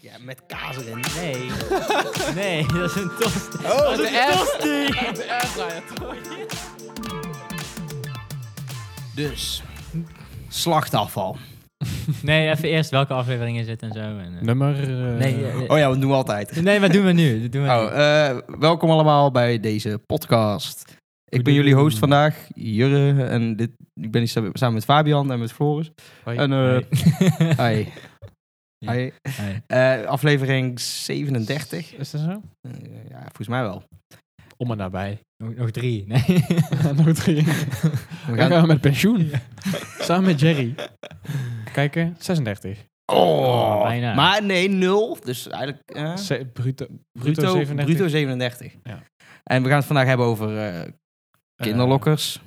Ja, met kaas erin. Nee. nee, dat is een tosti. Oh, Oh, dat is de een air- tosti. De airfryer. Dus, slachtafval. Nee, even eerst welke aflevering is het en zo. En, eh. Nummer... eh, Oh, nee, eh, eh, Oh ja, we doen we altijd. nee, wat doen we nu? Dat doen we Nou, nu. eh, welkom allemaal bij deze podcast. Ik ben jullie host vandaag, Jurre. En dit, ik ben hier sa- samen met Fabian en met Floris. hoi. En, eh, Hoi. Hi. Ja. Hi. Hey. Eh, aflevering 37. Is dat zo? Eh, ja, volgens mij wel. Om en nabij. nog, nog drie. Nee. Nog drie. We Dan gaan... gaan we met pensioen. Samen met Jerry. Kijken, 36. Oh, Oh, bijna. Maar nee, nul. Dus eigenlijk... eh, Se- bruto, bruto, bruto, 37. bruto 37. Ja. En we gaan het vandaag hebben over eh, Eh, kinderlokkers,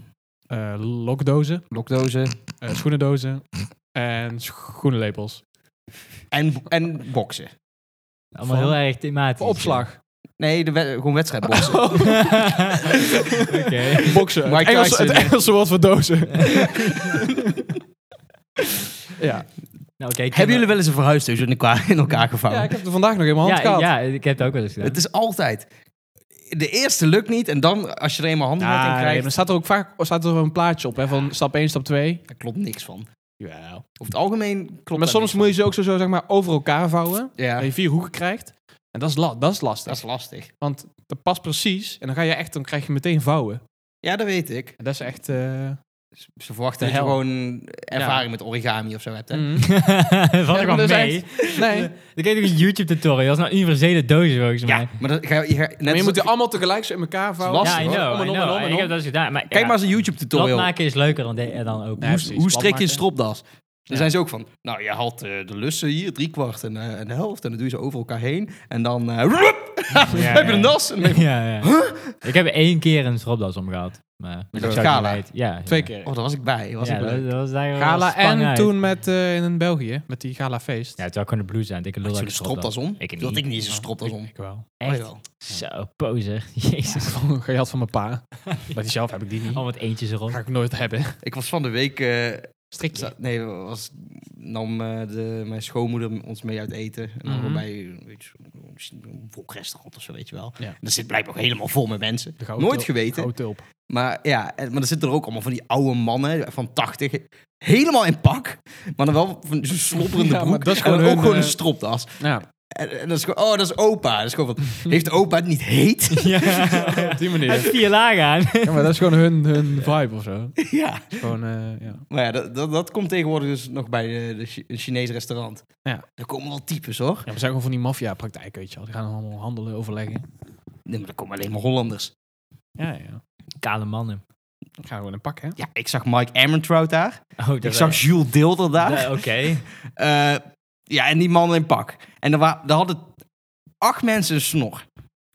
eh, lokdozen, lokdozen eh, schoenendozen en schoenenlepels. en, en boksen. Allemaal Van- heel erg thematisch. Voor opslag. Nee, de wed- gewoon wedstrijdboksen. Oké. Boksen. Mike Het Engelse, Tyson. het Engelse woord voor dozen. ja. Nou, oké, ik Hebben heb- jullie wel eens een verhuisdoos in elkaar, in elkaar gevouwen? Oh. ja, ik heb er vandaag nog in mijn hand ja, gehad. ja, ik heb het ook wel eens gedaan. Het is altijd... De eerste lukt niet en dan, als je er eenmaal handen Ah, in nee, krijgt, maar er staat er ook vaak er staat er een plaatje op hè, van stap 1, stap 2. daar klopt niks van. Ja. Over het algemeen klopt Maar daar soms niks moet je ze ook zo, zo zeg maar, over elkaar vouwen. van. Ja, Dat je vier hoeken krijgt. En dat is, la dat is lastig. dat is lastig. Want dat past precies. En dan ga je echt, dan krijg je meteen vouwen. Ja, dat weet ik. En dat is echt. eh, Ze verwachten De dat je hel. gewoon ervaring met origami of zo hebt. Hè? mm. Valt Ja, er maar wel dat is mee. nee. Ik kreeg ook een YouTube tutorial. Dat is nou universele dozen volgens mij. Ja, maar dat, ga, je, ga- net Maar je als- moet die allemaal tegelijk zo in elkaar vouwen. lastig, ja, I hoor. know, Om en I om en know. om en Ik om. heb dat gedaan. Maar, Kijk ja, maar eens een YouTube-tutorial. plat maken is leuker dan, de, dan ook. Nee, precies. Hoe Plat strik je een maken. stropdas? Dan Ja. zijn ze ook van, nou, je haalt eh, de lussen hier, driekwart en, eh, en de helft. En dan doe je ze over elkaar heen. En dan, eh, roep, Ja, heb je ja. een das? En dan- ja, ja. Ik heb één keer een stropdas omgehaald. Maar Met ik een zou het niet gala? weten. Ja, Twee ja. keer. Oh, daar was ik bij. Was Ja, ik dat, leuk. dat was eigenlijk wel Gala spang en uit. toen met eh, in België, met die gala feest. Ja, het zou kunnen blues zijn. Ik lul dat Zo'n ik stropdas. stropdas om? Ik niet. Dat ik niet eens een stropdas om. Ik wel. Oh, Echt? jawel. Zo, poser. Jezus. Gejat van mijn pa. Maar die zelf heb ik die niet. Al wat eentjes erop. Ga ik nooit hebben. Ik was van de week... eh, Strikje. za- nee, was, nam eh, de, mijn schoonmoeder ons mee uit eten. En dan Mhm. bij weet je, een volkrestaurant of zo, weet je wel. Ja. En dat zit blijkbaar ook helemaal vol met mensen. Nooit geweten. Gouden tulp. Maar ja, en- maar er zitten er ook allemaal van die oude mannen eh, van 80. Helemaal in pak, maar dan wel van zo'n slobberende Ja, maar broek. dat is en dan gewoon ook hun, gewoon een eh, stropdas. Ja, En, en dat is gewoon, oh, dat is opa. Dat is gewoon van, heeft opa het niet heet? Ja. op die Hij heeft manier. vier lagen aan. Ja, maar dat is gewoon hun, hun vibe of zo. Het ja. is Gewoon, eh, ja. Maar ja, dat, dat, dat komt tegenwoordig dus nog bij de, de Chi- een Chinees restaurant. Ja. Er komen wel types, hoor. Ja, we zijn gewoon van die maffia-praktijk, weet je wel. Die gaan allemaal handelen, overleggen. Nee, maar er komen alleen maar Hollanders. Ja, ja. Kale mannen. Dan gaan we gewoon een pak, hè? Ja, ik zag Mike Amantrout daar. Oh, dat Ik zag Jules Dilder daar. Nee, Oké. Eh, ja, en die mannen in pak. En er, wa- er hadden acht mensen een snor.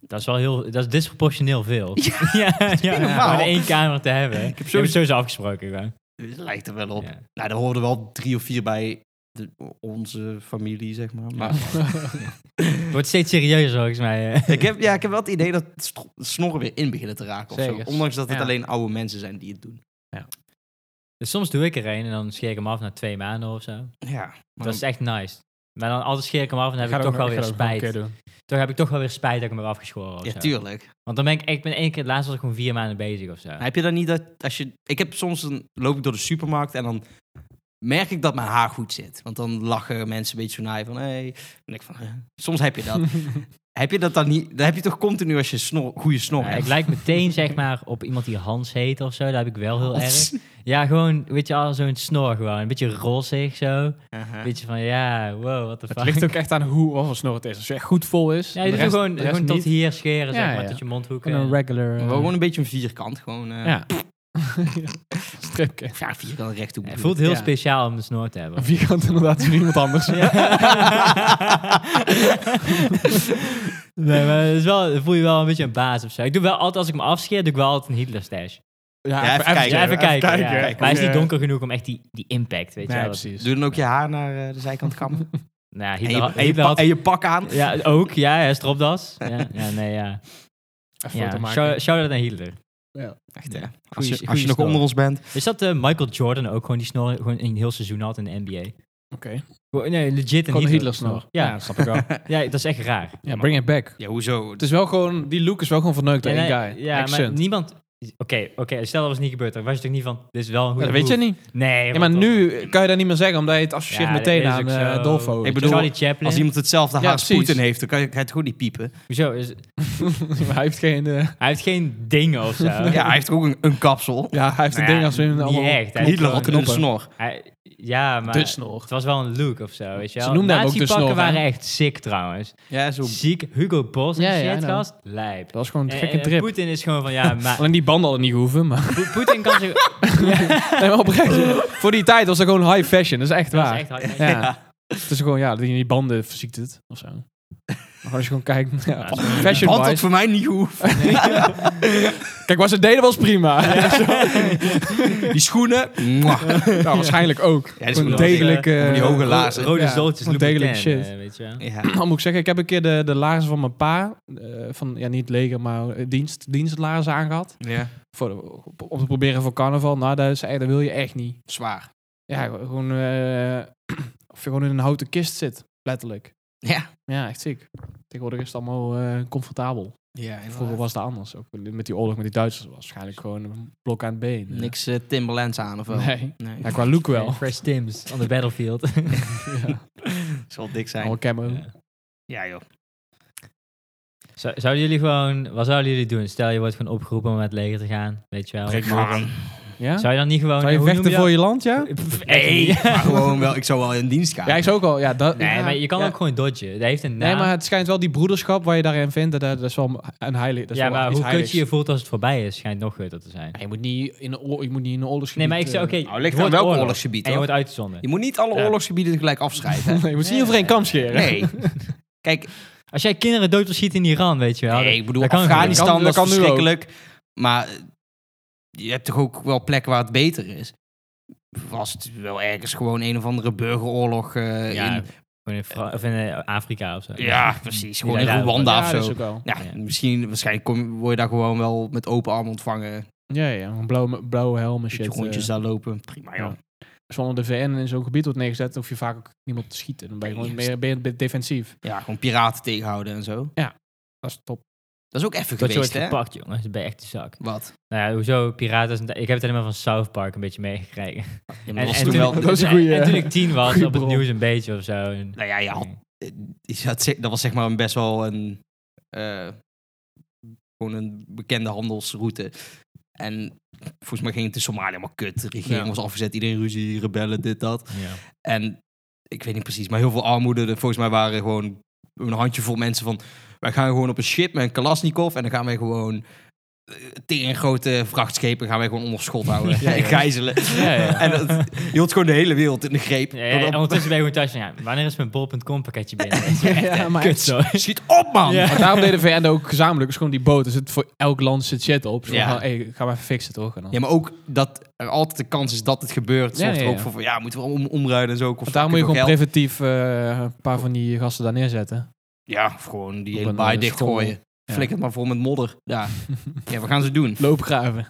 Dat is wel heel... Dat is disproportioneel veel. Ja, ja. normaal. Om één kamer te hebben. Ik heb sowieso- sowieso afgesproken. gewoon. Het lijkt er wel op. Ja. Nou, daar hoorden wel drie of vier bij de- onze familie, zeg maar. maar Het wordt steeds serieuzer volgens mij. eh. ik, heb, ja, ik heb wel het idee dat stro- snorren weer in beginnen te raken. Of zo. Zeker. Ondanks dat het Ja. alleen oude mensen zijn die het doen. Dus soms doe ik er een en dan scheer ik hem af na twee maanden of zo. Ja. Maar Dat is echt nice. Maar dan altijd scheer ik hem af en dan heb ik toch wel weer spijt. doen. Toch heb ik toch wel weer spijt dat ik hem heb afgeschoren. of ja, zo. tuurlijk. Want dan ben ik, ik ben één keer, laatst was ik gewoon vier maanden bezig of zo. Maar heb je dan niet dat als je... Ik heb soms een, loop ik door de supermarkt en dan merk ik dat mijn haar goed zit. Want dan lachen mensen een beetje zo naar je van... Hey. En ik van eh. Soms heb je dat. heb je dat dan niet... Dat heb je toch continu als je snor, goede snor Ja, hebt. ik lijk meteen zeg maar op iemand die Hans heet of zo. Dat heb ik wel heel erg. Ja, gewoon, weet je, al zo'n snor gewoon. Een beetje rozig zo. Een Aha. beetje van, ja, wow, wat de fuck. Het ligt ook echt aan hoe of een snor het is. Als je echt goed vol is. Ja, de je doet rest- gewoon, de rest gewoon tot niet. hier scheren, zeg Ja, maar, ja. tot je mondhoeken. Gewoon een regular. Maar eh, wel gewoon een beetje een vierkant. Gewoon... eh, ja. Stripje. Of ja, vierkant recht toe. het voelt heel Ja. speciaal om de snor te hebben. Een vierkant inderdaad voor iemand anders. nee, maar het is wel, dan voel je wel een beetje een baas of zo. Ik doe wel altijd, als ik hem afscheer, doe ik wel altijd een Hitler stash. even kijken. Ja, even kijken. ja. kijken. Maar hij is Ja. niet donker genoeg om echt die, die impact, weet je Nee, wel. precies. Doe dan ook je haar naar eh, de zijkant kammen. Nou, en, Hitler, je, had- en, je Hitler pa- had... en je pak aan. Ja, ook. Ja, ja stropdas. Ja, ja, nee, ja. Even foto ja. maken. Shout, shout-out naar Hitler. Echt, hè? Als Goeie- je, als goeie je nog snor. onder ons bent. Is dat eh, Michael Jordan ook gewoon die snor gewoon een heel seizoen had in de NBA? Oké. Gewoon- Nee, legit een Gewoon een Hitler. Hitler-snor. Ja. Ja, snap ik wel. Ja, dat is echt raar. Ja, bring it back. Ja, hoezo? Het is wel gewoon, die look is wel gewoon verneukt door En, één eh, guy. Ja, maar Accent. niemand... Oké, oké. stel dat was niet gebeurd, dan was je toch niet van... Dit is wel een Ja, goede dat weet je move. niet. Nee. Ja, wat maar dan? nu kan je dat niet meer zeggen, omdat je het associeert Ja, dat meteen is aan ook eh zo. Dolfo. Ik bedoel, Charlie Chaplin. Als iemand hetzelfde Ja, haar als precies. Poetin heeft, dan kan je, kan je het goed niet piepen. Hoezo? Is, Maar hij heeft geen... eh, hij heeft geen dingen of zo. Ja, hij heeft ook een, een kapsel. ja, hij heeft Nou een ja, ding als we hem niet allemaal... echt. Hij- Hitler had een knoppen. snor. Hij- ja, maar... Dus De snor. Het was wel een look of zo, weet je Ze wel. noemden hem ook de Nazi-pakken snor, hè? waren echt sick trouwens. Ja, zo. Ziek. Hugo Boss en Ja, ja, shit, nou. gast. Lijp. Dat was gewoon een En- gekke en trip. Poetin is gewoon van, ja, maar... Alleen die banden hadden niet gehoeven, maar... Po- Poetin kan zich... Nee, maar oprecht. voor die tijd was dat gewoon high fashion. Dat is echt Dat waar. is echt hard. Ja. Het is gewoon, ja, die, die banden verziekt het of zo. Maar als je gewoon kijkt, ja, dat fashion Had dat wise. voor mij niet hoeven. Kijk, wat ze deden was prima. Die schoenen. mwah. Nou, waarschijnlijk ook. is Gewoon goed. degelijk. Van die eh, hoge laarzen. Rode Ja, zooltjes, gewoon degelijk Louboutin, shit. eh, weet je wel. Ja. Dan moet ik zeggen, ik heb een keer de, de laarzen van mijn pa, eh, van ja, niet leger, maar eh, dienst, dienstlaarzen aangehad. ja, Voor de- om te proberen voor carnaval. Nou, dat, is, eh, dat wil je echt niet. zwaar. Ja, gewoon, eh, of je gewoon in een houten kist zit, letterlijk. Ja. Ja, echt ziek. Tegenwoordig is het allemaal eh, comfortabel. Ja, en Vroeger was dat anders. Ook met die oorlog met die Duitsers was waarschijnlijk gewoon een blok aan het been. Niks eh, Timberlands aan of wel? Nee. Nee. Ja, qua look wel. Eh, Fresh Tims on the battlefield. ja. Zal dik zijn. Allemaal camo. Ja. Ja, joh. Zou- Zouden jullie gewoon... Wat zouden jullie doen? Stel, je wordt gewoon opgeroepen om naar het leger te gaan. Weet je wel. Breek maar aan. Ja? Zou je dan niet gewoon... Zou je hoe noem vechten voor dat? je land, ja? Pff, echt Nee, niet. maar gewoon wel. Ik zou wel in dienst gaan. Ja, ik zou ook al. Ja, dat, Nee, ja, maar je kan ja. ook gewoon dodgen. Dat heeft een naam. Nee, maar het schijnt wel die broederschap waar je daarin vindt, dat, dat is wel een heilig. Dat is ja, wel maar iets hoe kut heiligs. je je voelt als het voorbij is, schijnt nog gutter te zijn. Ja, je moet niet in een oor- je moet niet in een oorlogsgebied... eh, Nee, maar ik zei, oké, Nou, ligt je aan wordt welk oorlog. oorlogsgebied, En je hoor. wordt uitgezonden. Je moet niet alle Ja. oorlogsgebieden tegelijk afschrijven. eh, hè? je moet ze niet over één kam scheren. Nee. Kijk, Als jij kinderen dood wil schieten in Iran, weet je wel. nee, dat- ik bedoel, dat kan Afghanistan Dat kan- dat dat kan is nu ook. verschrikkelijk. Maar eh, je hebt toch ook wel plekken waar het beter is? Was het wel ergens gewoon een of andere burgeroorlog eh, Ja, in... gewoon in, Fra- of in eh, Afrika of zo. Ja, precies. Gewoon Ja, in ja, Rwanda Ja, of dat zo. is ook wel. Ja, Ja. misschien, waarschijnlijk kom, word je daar gewoon wel met open arm ontvangen. Ja, ja, een blauwe, blauwe helm en Shit, shit. rondjes eh, daar lopen. Prima, joh. Ja. zonder de VN in zo'n gebied wordt neergezet, hoef je vaak ook niemand te schieten. Dan ben je gewoon Nee, meer, ben je be- defensief. Ja, gewoon piraten tegenhouden en zo. Dat is top. Dat is ook even Dat je wordt geweest, hè? gepakt, jongens. Dan ben je echt de zak. Wat? Nou ja, hoezo? Piraten... is een- Ik heb het helemaal van South Park een beetje meegekregen. Ja, maar En, dat was en toen toen, wel... Dat is een en- goeie- eh, en toen ik tien was, goeie op het bron. nieuws een beetje of zo. En- Nou ja, je had, je had ze- dat was zeg maar een best wel een... eh, gewoon een bekende handelsroute. En volgens mij ging het in Somalië allemaal kut. De regering Ja. was afgezet, iedereen ruzie, rebellen, dit, dat. Ja. En ik weet niet precies, maar heel veel armoede. Er- Volgens mij waren gewoon een handjevol mensen van... Wij gaan gewoon op een ship met een Kalasnikov en dan gaan wij gewoon... eh, Tegen grote vrachtschepen gaan wij gewoon onder schot houden Ja, en ja. gijzelen. Ja, ja. En dat hield gewoon de hele wereld in de greep. Ja, ja, en Dan- ondertussen ben je gewoon thuis van, ja, wanneer is mijn bol.com pakketje binnen? Echt, eh, Ja, maar- Kut zo. Schiet op, man! Ja. Maar daarom deed de VN ook gezamenlijk. Dus gewoon die boot. Er zit voor elk land zit shit op. Zo Ja. van, hey, ga maar even fixen toch? En dan. Ja, maar ook dat er altijd de kans is dat het gebeurt. Ja, Soms ja, ook ja. van, van, ja, moeten we om, omruilen en zo. Of Want daar moet je gewoon geld. preventief eh, een paar van die gasten daar neerzetten. Ja, of gewoon die Op hele een, baai eh, dichtgooien. Ja. Flik het maar vol met modder. Ja, ja we gaan ze doen. Loopgraven.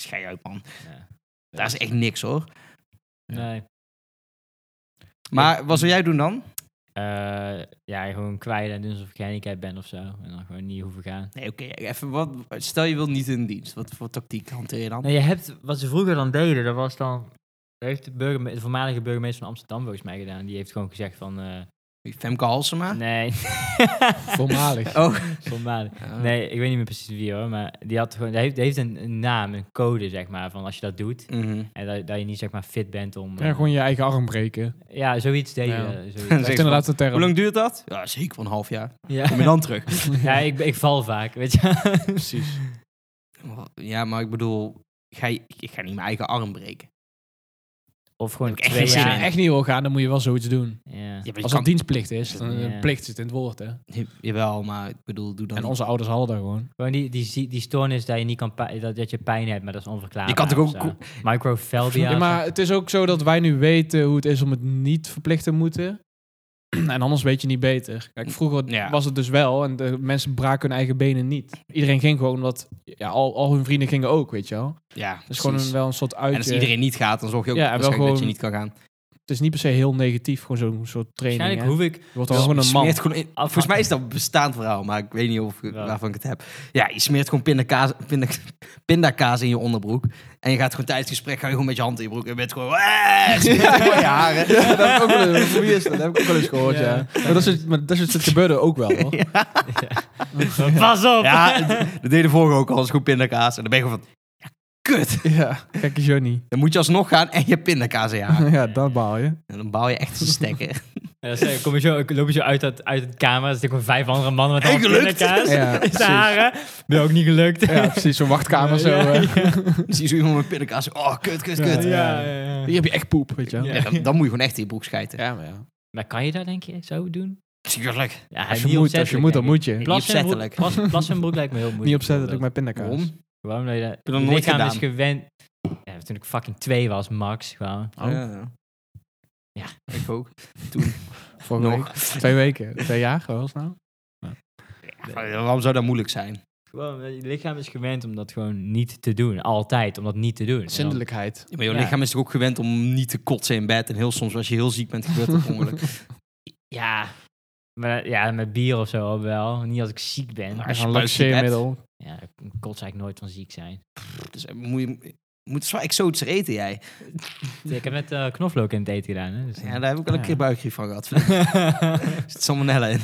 Schei uit, man. Ja. Daar is echt niks, hoor. Nee. Maar wat zou jij doen dan? Eh, ja, gewoon kwijt en doen alsof ik gehandicapt ben of zo. En dan gewoon niet hoeven gaan. Nee, oké. even wat, stel, je wilt niet in dienst. Wat voor tactiek hanteer je dan? Nee, je hebt, wat ze vroeger dan deden, dat was dan... Dat heeft de, burgerme- de voormalige burgemeester van Amsterdam volgens mij gedaan. Die heeft gewoon gezegd van... eh, Femke Halsema? nee. Voormalig. Oh. Voormalig. Ja. Nee, ik weet niet meer precies wie hoor. Maar die, had gewoon, die heeft, die heeft een, een naam, een code zeg maar. Van als je dat doet. Mhm. En dat, dat je niet zeg maar fit bent om... Ja, eh, gewoon je eigen arm breken. ja zoiets deed Ja. je. zoiets. Dat Zeg is je inderdaad de Hoe term. lang duurt dat? Ja, zeker wel een half jaar. Kom je Ja, dan terug? ja ik, ik val vaak, weet je. Precies. Ja, maar ik bedoel, ik ga, ik ga niet mijn eigen arm breken. Of gewoon Heb ik echt twee geen Als zin je in. jaar. echt niet wil gaan, dan moet je wel zoiets doen. Ja. Ja, maar je Als kan- het dienstplicht is, dan een Ja. plicht zit in het woord. Hè? Jawel, maar ik bedoel, doe dan... En onze ouders hadden dat gewoon. Gewoon die, die, zie- die stoornis dat je niet kan pij- dat, dat je pijn hebt, maar dat is onverklaarbaar. Je kan toch ook- of zo. microfalbia. Ja, maar het is ook zo dat wij nu weten hoe het is om het niet verplicht te moeten. En anders weet je niet beter. Kijk, vroeger Ja. was het dus wel. En de mensen braken hun eigen benen niet. Iedereen ging gewoon, omdat ja, al, al hun vrienden gingen ook, weet je wel. Ja, Dus gewoon een, wel een soort uitje. En als iedereen niet gaat, dan zorg je ook Ja, en wel waarschijnlijk dat je gewoon- niet kan gaan. Het is niet per se heel negatief, gewoon zo'n soort training. Waarschijnlijk hè. hoef ik... Je wordt dan gewoon een man. Smeert gewoon in- Afha- Volgens mij is dat een bestaand verhaal, maar ik weet niet of, Ja. waarvan ik het heb. Ja, je smeert gewoon pindakaas, pinda, pindakaas in je onderbroek. En je gaat gewoon tijdens het gesprek ga je gewoon met je hand in je broek. En je bent gewoon... "Eh, smeert gewoon in je haren. Ja, dat heb ik ook wel eens- wie is dat? Dat heb ik ook wel eens gehoord, ja. Ja. Maar dat soort, maar dat soort shit gebeurde ook wel, hoor. Pas op! Ja, dat- dat deed de vorige ook al. Dat is gewoon pindakaas. En dan ben je gewoon van... Ja, kut. Ja, kijk eens Johnny. Dan moet je alsnog gaan en je hebt pindakaas in je haren. Ja, dat baal je. En dan bouw je echt een stekker. Ja, dat is leuk. kom je zo, ik loop je zo uit, dat, uit het kamer. Er zitten gewoon vijf andere mannen met Hey, allemaal gelukt. pindakaas. Ja, In precies. zijn haren. Ben ook niet gelukt. Ja, precies, zo'n wachtkamer zo. Ja, eh. Dan zie je zo iemand met pindakaas. Oh, kut, kut, ja, kut. Ja. ja, ja. Hier heb je echt poep, weet je wel. Ja. dan, dan moet je gewoon echt in je broek schijten. Ja, maar ja. Maar kan je dat, denk je, zo doen? Tuurlijk. Ja, Als je niet moet, als je opzettelijk, moet, dan denk ik. moet je. Niet Plassen in broek- opzettelijk. plas- Plassen in broek lijkt me heel moeilijk. Niet eh, opzettelijk met pindakaas. Waarom? Waarom dat je dat... dat nooit lichaam gedaan. is gewend... Ja, toen ik fucking twee was, max. Gewoon. Oh, Ja. Ja. ik ook. vorige Nog. week. Twee weken. Twee jaar, was nou. Ja, waarom zou dat moeilijk zijn? Gewoon, eh, je lichaam is gewend om dat gewoon niet te doen. Altijd, om dat niet te doen. En dan- Zindelijkheid. Ja, maar jouw Ja. lichaam is toch ook gewend om niet te kotsen in bed. En heel soms, als je heel ziek bent, gebeurt dat per ongeluk. Ja. Maar, ja, met bier of zo wel. Niet als ik ziek ben. Maar Als als je je een buikziek hebt. laxeermiddel. Ja, ik kots eigenlijk nooit van ziek zijn. Dus eh, moet je... Moet het wel exotischer eten, jij. Ik heb net eh, knoflook in het eten gedaan. Hè, dus, Ja, daar heb ik wel een Ja. keer buikgriep van gehad. Er zit salmonella in.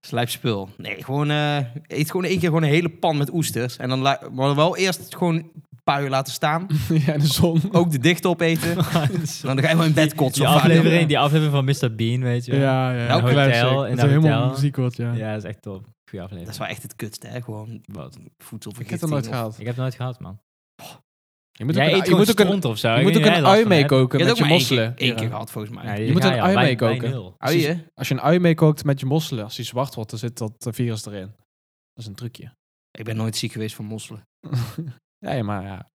Slijpspul. Nee, gewoon... eh, eet gewoon één keer gewoon een hele pan met oesters. En dan la- maar wel eerst gewoon een paar uur laten staan. ja, in de zon. Ook de dichte opeten. dan ga je wel in bed kotsen. Die of vaak. aflevering, die aflevering van Mr. Bean, weet je wel. Ja, ja. een klein hotel, stuk. in Dat een er helemaal hotel. muziek wordt, ja. Ja, dat is echt top. Goeie Dat is aflevering. wel echt het kutste, hè? Gewoon Wat? voedsel Ik heb dat nooit gehaald. Ik heb het nooit gehad, man. Je moet ook Jij een- eet je gewoon moet ook een- stront of zo. je moet ook een ui meekooken Je met hebt je ook maar één keer- mosselen. één keer Ja. gehad, volgens mij. Je moet een ui meekoken. Hou je? Als je een ui meekookt met je mosselen, als die zwart wordt, dan zit dat eh, virus erin. Dat is een trucje. Ik ben nooit ziek geweest van mosselen. ja, ja, maar ja.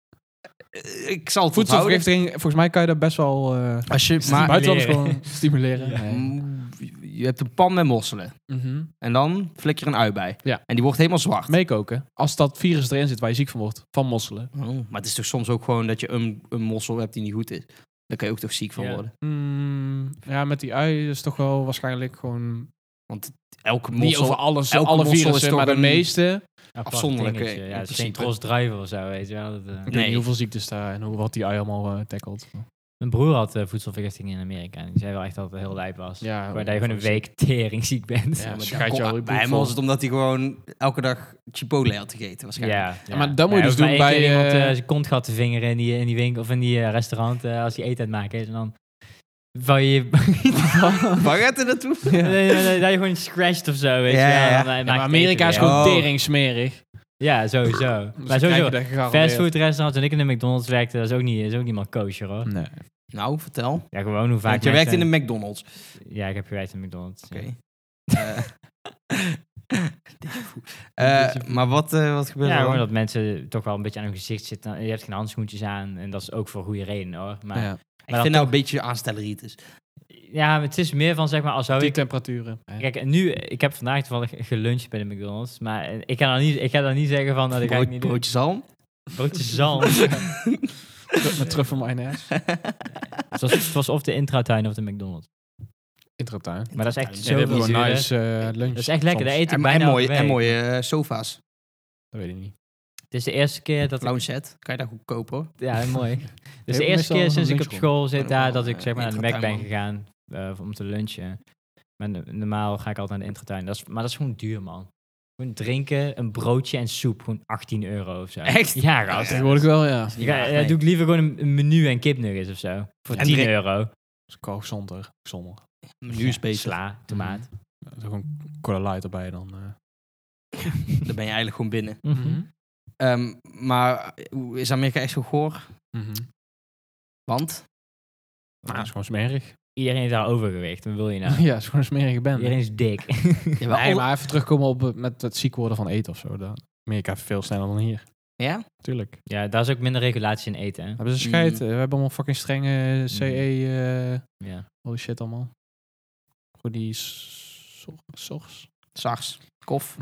Eh, Ik zal het onthouden. Voedselvergiftiging, volgens mij kan je dat best wel eh Als je, maar, buitenlanders Stimuleren. gewoon stimuleren. Ja. Nee. Mm, je hebt een pan met mosselen. Mhm. En dan flik je er een ui bij. Ja. En die wordt helemaal zwart. Meekoken, als dat virus erin zit waar je ziek van wordt, van mosselen. Oh, maar het is toch soms ook gewoon dat je een, een mossel hebt die niet goed is. Daar kan je ook toch ziek van Ja. worden. Mm, ja, met die ui is toch wel waarschijnlijk gewoon Elke Niet mossel... over alles, elke alle mossel is virussen, toch maar de een- meeste. Afzonderlijk, Afzonderlijk. eh, in Ja, St. principe. Cross druiven of zo, weet je wel. Dat, eh, Ik Nee. weet niet hoeveel ziektes daar en hoe, wat die ui allemaal eh, tackelt. Mijn broer had eh, voedselvergiftiging in Amerika. En die zei wel echt dat het heel lijp was. Ja, oh, Gewoon dat je gewoon een week tering ziek bent. Ja, Ja, maar als je dat gaat kon- jou je bij hem broek was het omdat hij gewoon elke dag chipotle had gegeten waarschijnlijk. ja, Ja, maar dat moet je dus hoeft maar doen één keer bij, iemand eh, eh, zijn kont gaat te vingeren in die, in die winkel of in die eh, restaurant eh, als hij eten aan het maken is. En dan van je... Waar gaat hij naartoe? dat je- dat je gewoon scratcht of zo, weet Ja, je wel. ja. En dan maakt maar het eten Amerika is weer. gewoon Oh. teringsmerig. Ja, sowieso. Dus maar dan krijg sowieso, je dat gegarandeerd. fastfood restaurants en ik in de McDonald's werkte, dat is ook niet, is ook niet meer kosher hoor. Nee. Nou, vertel. Ja, gewoon hoe vaak. Want je werkt in mensen- de McDonald's. Ja, ik heb gewerkt in McDonald's. Oké. ja. Eh, eh, maar wat, eh, wat Ja, gebeurt er gewoon dan? dat mensen toch wel een beetje aan hun gezicht zitten. Je hebt geen handschoentjes aan en dat is ook voor goede reden hoor. Maar ja, Ja. Ik dat vind nou een beetje aanstelleritis. maar het is meer van zeg maar als zou Die ik. temperaturen. Ja. Kijk, en nu, ik heb vandaag toevallig geluncht bij de McDonald's. Maar eh, ik ga dan niet, ik ga dan niet zeggen van. Nou, dat ga ik Brood- niet doen. broodje zalm. Broodje zalm. Met- Met truffel mayonaise. het, was, het was of de intratuin of de McDonald's. Intratuin. Maar dat is echt Zo zo hebben gewoon duurder. nice eh, lunch. Dat is echt lekker. soms. Dat eet ik En, en bijna mooie, elke en week. mooie eh, sofa's. Dat weet ik niet. Het is de eerste keer dat ik Lounge set. Kan je daar goed kopen hoor. Ja, mooi. Dus de Heel eerste meestal keer een sinds ik op lunchroom. school zit Maar daar, normaal, dat ik eh, zeg maar naar de Mac ben intratuin, gegaan eh, om te lunchen. Maar no- normaal ga ik altijd naar de intratuin. Dat is, maar dat is gewoon duur, man. Gewoon drinken, een broodje en soep, gewoon 18 euro of zo. Echt? Ja, gast. Ja, Tegenwoordig wel, ja. ja, nee. doe ik liever gewoon een, een menu en kipnuggets of zo. Voor En 10 drink- euro. Dat is koog zonder. Zonder. Nu is beter. Sla, tomaat. Dat is gewoon cola light erbij dan. eh. Dan ben je eigenlijk gewoon binnen. Mhm. Ehm, maar hoe- is Amerika echt zo goor? Mhm. Want? Nou, dat is gewoon smerig. Iedereen is daar overgewicht. Wat wil je nou? Ja, het is gewoon een smerige band. Iedereen is dik. Ja? Nee, maar even terugkomen op eh, met het ziek worden van eten of zo. Dat Amerika veel sneller dan hier. ja? Tuurlijk. ja, daar is ook minder regulatie in eten. hè. Hebben ze Mm. scheid? eh, We hebben allemaal fucking strenge eh, CE. eh Ja. holy shit allemaal. Goedie s- sor- sors. S'nachts. Kof.